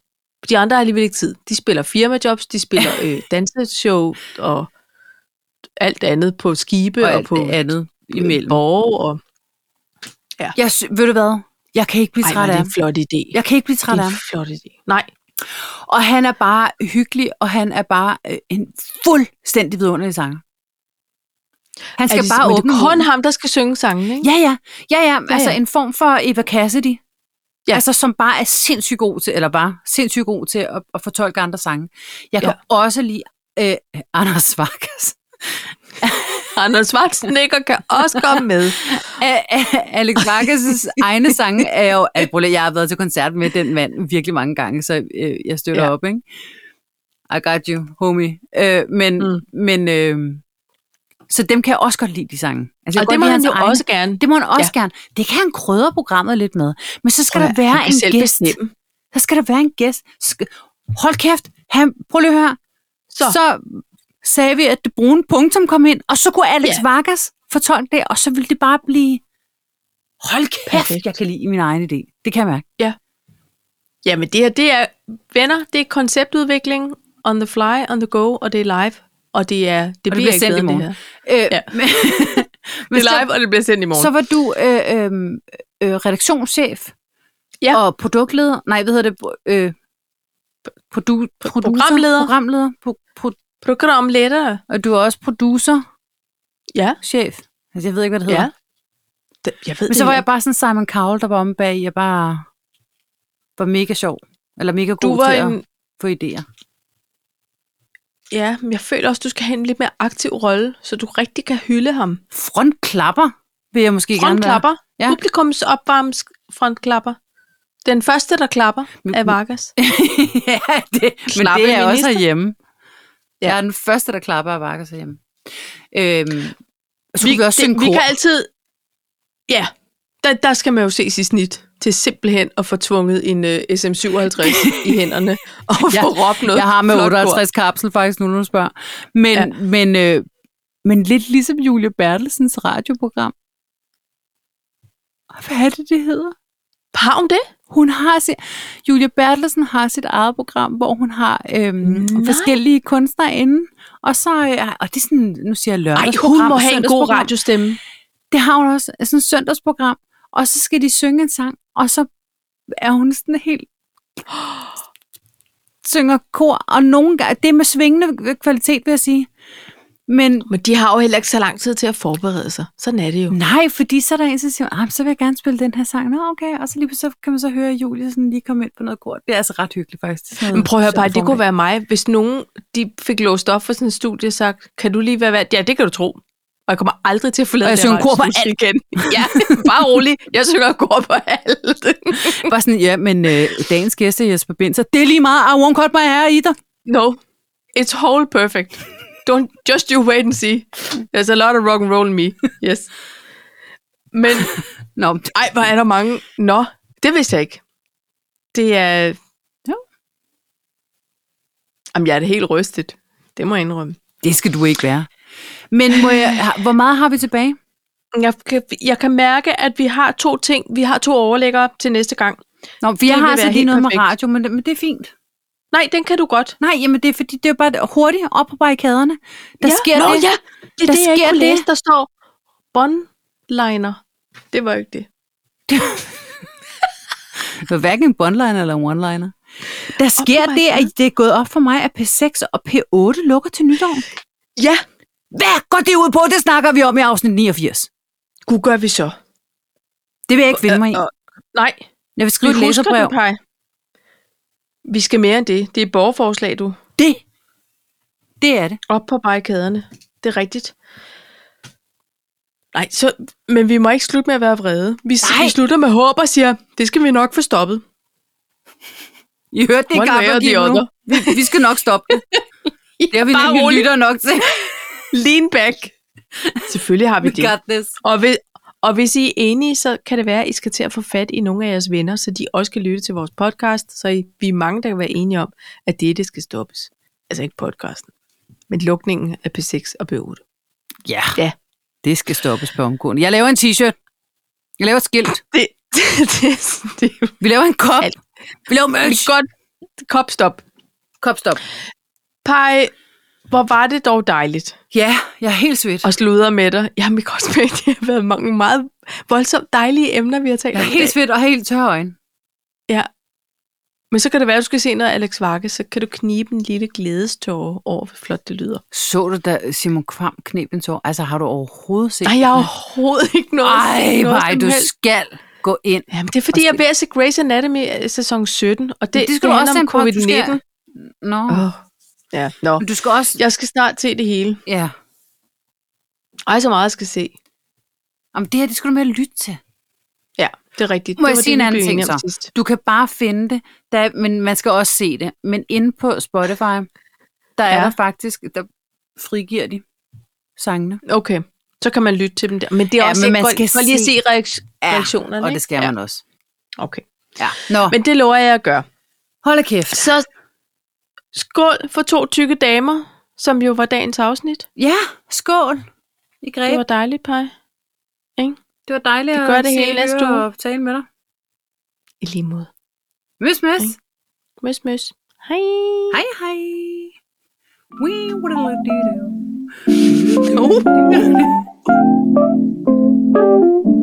Speaker 1: De andre har alligevel ikke tid. De spiller firmajobs, de
Speaker 2: *laughs*
Speaker 1: spiller øh, danseshow og alt andet på skibe og, og på
Speaker 2: andet
Speaker 1: øh, borg. Og...
Speaker 2: Jeg sy- ved du hvad? Jeg kan ikke blive
Speaker 1: Ej, hvor
Speaker 2: træt
Speaker 1: er
Speaker 2: af
Speaker 1: det
Speaker 2: ham.
Speaker 1: en flot idé.
Speaker 2: Jeg kan ikke blive træt
Speaker 1: det
Speaker 2: af
Speaker 1: er
Speaker 2: ham.
Speaker 1: en flot idé. Nej,
Speaker 2: Og han er bare hyggelig, og han er bare øh, en fuldstændig vidunderlig sanger. Han
Speaker 1: er
Speaker 2: skal
Speaker 1: det,
Speaker 2: bare
Speaker 1: men det
Speaker 2: åbne
Speaker 1: er kun
Speaker 2: munden.
Speaker 1: ham, der skal synge sangen, ikke?
Speaker 2: Ja, ja. Ja, ja. Altså
Speaker 1: ja.
Speaker 2: en form for Eva Cassidy.
Speaker 1: Ja.
Speaker 2: Ja. Altså, som bare er sindssygt god til, eller bare sindssygt god til at, at fortolke andre sange. Jeg kan ja. også lide øh, Anders Svarkas.
Speaker 1: Anders Schwarzenegger kan også komme
Speaker 2: *laughs*
Speaker 1: med.
Speaker 2: A- A- Alex
Speaker 1: *laughs*
Speaker 2: Vargas' egne sange er jo... Altså, prøv lige, jeg har været til koncert med den mand virkelig mange gange, så øh, jeg støtter
Speaker 1: Ja.
Speaker 2: ja. op, ikke? I got you, homie. Øh, men,
Speaker 1: Mm.
Speaker 2: mm. men øh, så dem kan jeg også godt lide, de sange. Altså, jeg
Speaker 1: Og det
Speaker 2: kan godt
Speaker 1: må han
Speaker 2: lide hans
Speaker 1: jo
Speaker 2: egne.
Speaker 1: også gerne.
Speaker 2: Det må han også ja. gerne. Det kan han krydre programmet lidt med. Men så skal
Speaker 1: Prøv
Speaker 2: der
Speaker 1: at høre,
Speaker 2: være
Speaker 1: han kan
Speaker 2: en
Speaker 1: selv
Speaker 2: gæst.
Speaker 1: bestemme.
Speaker 2: Der skal der være en gæst. Sk- Hold kæft. Han, prøv lige at høre.
Speaker 1: Så.
Speaker 2: Så. så sagde vi, at det brune punktum kom ind, og så kunne Alex
Speaker 1: Ja.
Speaker 2: ja. Vargas fortolke det, og så ville det bare blive... Hold kæft,
Speaker 1: Perfekt.
Speaker 2: Perfekt. jeg kan lide min egen idé. Det kan jeg mærke.
Speaker 1: Jamen det her, det er venner, det er konceptudvikling, on the fly, on the go, og det er live. Og det er, det,
Speaker 2: Og
Speaker 1: bliver ikke bedre
Speaker 2: i
Speaker 1: end det
Speaker 2: *laughs* morgen.
Speaker 1: her.
Speaker 2: Øh,
Speaker 1: Ja.
Speaker 2: ja. men,
Speaker 1: Det
Speaker 2: Hvis
Speaker 1: er live, og det bliver sendt i morgen.
Speaker 2: Så var du øh, øh, øh, redaktionschef
Speaker 1: Ja.
Speaker 2: og produktleder. Nej, hvad hedder det? Øh, produ, producer,
Speaker 1: programleder.
Speaker 2: programleder pro, pro,
Speaker 1: Program lettere.
Speaker 2: og du er også producerchef.
Speaker 1: Ja.
Speaker 2: Altså, jeg ved ikke, hvad det hedder.
Speaker 1: Ja. Det, jeg ved
Speaker 2: Men
Speaker 1: det
Speaker 2: så var jeg
Speaker 1: ikke.
Speaker 2: bare sådan Simon Cowell, der var omme bag. Jeg bare var mega sjov. Eller mega god
Speaker 1: du var
Speaker 2: til
Speaker 1: en,
Speaker 2: at få idéer.
Speaker 1: Ja, men jeg føler også, du skal have en lidt mere aktiv rolle, så du rigtig kan hylde ham.
Speaker 2: Frontklapper vil jeg måske gerne være.
Speaker 1: Frontklapper.
Speaker 2: Ja.
Speaker 1: Ja. Publikums opvarmes frontklapper. Den første, der klapper,
Speaker 2: Men-
Speaker 1: er Vargas.
Speaker 2: *laughs* ja, det, men
Speaker 1: Slappe
Speaker 2: det er jeg også
Speaker 1: minister.
Speaker 2: herhjemme. Ja.
Speaker 1: Ja.
Speaker 2: Jeg er den første, der klapper og vakker sig hjemme. Øhm, så vi,
Speaker 1: Vi,
Speaker 2: vi også synge
Speaker 1: det, vi
Speaker 2: kor.
Speaker 1: kan altid... Ja, der, der skal man jo ses i snit til simpelthen at få tvunget en uh, SM57 *laughs* i hænderne og få
Speaker 2: Ja,
Speaker 1: råbt noget
Speaker 2: Jeg har med
Speaker 1: flot kor.
Speaker 2: 58 kapsel faktisk, nu når du spørger. Men, ja.
Speaker 1: Ja.
Speaker 2: men, øh, men lidt ligesom Julie Bertelsens radioprogram. Hvad er det, det hedder?
Speaker 1: Har hun det?
Speaker 2: Hun har sit, Julia Bertelsen har sit eget program, hvor hun har øhm,
Speaker 1: Nej.
Speaker 2: forskellige kunstnere inde. Og så, øh, og det er sådan, nu siger jeg
Speaker 1: Nej,
Speaker 2: lørdagsprogram.
Speaker 1: hun må have en god
Speaker 2: søndagsprogram.
Speaker 1: radiostemme.
Speaker 2: Det har hun også, altså sådan et søndagsprogram. Og så skal de synge en sang, og så er hun sådan helt *gasps* synger kor, og nogle gange, det er med svingende kvalitet, vil jeg sige. Men
Speaker 1: Men de har jo heller ikke så lang tid til at forberede sig. Sådan er det jo.
Speaker 2: nej, fordi så er der en, der siger, ah, så vil jeg gerne spille den her sang. Nå, okay, og så lige så kan man så høre Julie sådan lige komme ind på noget kor. Det er altså ret hyggeligt, faktisk. Det er sådan noget
Speaker 1: Men prøv at høre,
Speaker 2: søndag
Speaker 1: bare, det
Speaker 2: formiddag.
Speaker 1: kunne være mig, hvis nogen de fik låst op for sådan en studie og sagt, kan du lige være vært? Ja, det kan du tro. Og jeg kommer aldrig til at forlade
Speaker 2: Og jeg
Speaker 1: det
Speaker 2: synger
Speaker 1: her
Speaker 2: kor på
Speaker 1: radiostudie igen. *laughs* Ja, bare rolig. Jeg synger kor på alt. *laughs*
Speaker 2: Bare sådan, ja, men øh, dagens gæst er Jesper Binser. Det er lige meget. I won't cut my hair either.
Speaker 1: No, it's whole perfect. Don't, just you wait and see. There's a lot of rock and roll in me. Yes. Men,
Speaker 2: Nå, men
Speaker 1: ej, hvor er der mange. Nå, det vidste jeg ikke. Det er...
Speaker 2: Jo.
Speaker 1: Jamen, jeg er det helt rystet. Det må jeg indrømme.
Speaker 2: det skal du ikke være. Men må jeg, har- hvor meget har vi tilbage?
Speaker 1: Jeg kan, jeg kan mærke, at vi har to ting. Vi har to overlæggere til næste gang.
Speaker 2: Nå, vi
Speaker 1: vil
Speaker 2: har altså
Speaker 1: være
Speaker 2: lige
Speaker 1: helt
Speaker 2: noget perfekt. med
Speaker 1: perfekt.
Speaker 2: radio, men, det- men det er fint.
Speaker 1: Nej, den kan du godt.
Speaker 2: Nej, jamen det er fordi, det er bare det- hurtigt op på barrikaderne. Der
Speaker 1: ja.
Speaker 2: sker
Speaker 1: Nå,
Speaker 2: det.
Speaker 1: ja. Det er
Speaker 2: Der
Speaker 1: det, jeg
Speaker 2: sker
Speaker 1: ikke kunne
Speaker 2: det.
Speaker 1: læse. Der står bondliner. Det var jo ikke det.
Speaker 2: Det var hverken en bondliner eller en one-liner. Der sker
Speaker 1: my
Speaker 2: det, at det er gået op for mig, at P6 og P8 lukker til nytår.
Speaker 1: Ja,
Speaker 2: Hvad går det ud på? Det snakker vi om i afsnit 89.
Speaker 1: gud gør vi så.
Speaker 2: Det vil jeg ikke finde mig i.
Speaker 1: Øh, øh, Nej,
Speaker 2: Jeg vil skrive et
Speaker 1: vi husker den,
Speaker 2: læserbrev.
Speaker 1: Paj. Vi skal mere end det. Det er et borgerforslag, du.
Speaker 2: Det, det er det.
Speaker 1: Op på barrikaderne. Det er rigtigt. Nej, så, men vi må ikke slutte med at være vrede. Vi,
Speaker 2: Nej.
Speaker 1: vi slutter med håb og siger, det skal vi nok få stoppet.
Speaker 2: I hørte det i
Speaker 1: One way or the
Speaker 2: Gaffa-Gib nu.
Speaker 1: other.
Speaker 2: Vi, vi skal nok stoppe det. Det *laughs* har vi
Speaker 1: Bare
Speaker 2: nemlig
Speaker 1: rolig.
Speaker 2: lytter nok *laughs* til.
Speaker 1: Lean back. Selvfølgelig har vi
Speaker 2: We
Speaker 1: det.
Speaker 2: got this.
Speaker 1: Og, hvis, og hvis I er enige, så kan det være, at I skal til at få fat i nogle af jeres venner, så de også kan lytte til vores podcast, så I, vi er mange, der kan være enige om, at det, det skal stoppes. Altså ikke podcasten, men lukningen af P6 og P8.
Speaker 2: Ja.
Speaker 1: Ja.
Speaker 2: Det skal stoppes på omgående. Jeg laver en t-shirt. Jeg laver et skilt.
Speaker 1: Det, *laughs* det, det, det, det
Speaker 2: Vi laver en kop.
Speaker 1: Alt.
Speaker 2: Vi laver merch.
Speaker 1: er godt. Kop, stop.
Speaker 2: Kop stop.
Speaker 1: Pej, hvor var det dog dejligt
Speaker 2: Ja, jeg er helt svedt.
Speaker 1: at sludre med dig. Jamen, jeg kan også med, det har været mange meget voldsomt dejlige emner, vi har talt
Speaker 2: Jeg
Speaker 1: om.
Speaker 2: er
Speaker 1: i dag.
Speaker 2: helt svedt og helt tør øjne.
Speaker 1: Men så kan det være, at du skal se noget Alex Varke, så kan du knibe en lille glædestårer over, hvor flot det lyder.
Speaker 2: Så du da Simon Kvam knep en tår? Altså, har du overhovedet set
Speaker 1: Nej, jeg har
Speaker 2: det?
Speaker 1: overhovedet ikke noget.
Speaker 2: Ej,
Speaker 1: noget
Speaker 2: nej,
Speaker 1: som
Speaker 2: du
Speaker 1: helst.
Speaker 2: skal gå ind.
Speaker 1: Jamen, det er fordi, jeg er ved at se Grey's Anatomy øh, sæson 17, og det,
Speaker 2: Men det skal du også
Speaker 1: handler om
Speaker 2: sende på, du skal-
Speaker 1: covid-19.
Speaker 2: Nå.
Speaker 1: Åh, Ja, nå.
Speaker 2: Men du skal også...
Speaker 1: Jeg skal snart se det hele.
Speaker 2: Ja.
Speaker 1: Ej, så meget jeg skal se.
Speaker 2: Jamen, det her, det skal du med at lytte til.
Speaker 1: Ja, det er rigtigt.
Speaker 2: Må
Speaker 1: det
Speaker 2: jeg
Speaker 1: var
Speaker 2: sige
Speaker 1: det, vi
Speaker 2: en anden
Speaker 1: blev
Speaker 2: ting
Speaker 1: enige om
Speaker 2: så?
Speaker 1: sidst.
Speaker 2: Du kan bare finde det, der, er- men man skal også se det. Men inde på Spotify, der er
Speaker 1: Ja.
Speaker 2: der faktisk, der frigiver de sangene.
Speaker 1: Okay, så kan man lytte til dem der. Men det er
Speaker 2: Ja,
Speaker 1: også
Speaker 2: men
Speaker 1: ikke,
Speaker 2: man
Speaker 1: man
Speaker 2: skal
Speaker 1: skal for lige at se
Speaker 2: se-
Speaker 1: reaks- reaktionerne.
Speaker 2: og
Speaker 1: ikke?
Speaker 2: det skal
Speaker 1: ja.
Speaker 2: man også.
Speaker 1: Okay.
Speaker 2: Ja. Nå, men,
Speaker 1: Men det lover jeg at gøre.
Speaker 2: hold da kæft.
Speaker 1: Så skål for to tykke damer, som jo var dagens afsnit.
Speaker 2: Ja, skål. I greb.
Speaker 1: Det var dejligt, Paj.
Speaker 2: det var dejligt
Speaker 1: vi gør det
Speaker 2: se
Speaker 1: hele
Speaker 2: og
Speaker 1: næste
Speaker 2: høre
Speaker 1: uge.
Speaker 2: og tale med dig.
Speaker 1: I lige måde.
Speaker 2: Møs, møs.
Speaker 1: Ikke? Møs, møs. Hej.
Speaker 2: Hej, hej. We would have loved you.
Speaker 1: Oh. Thank you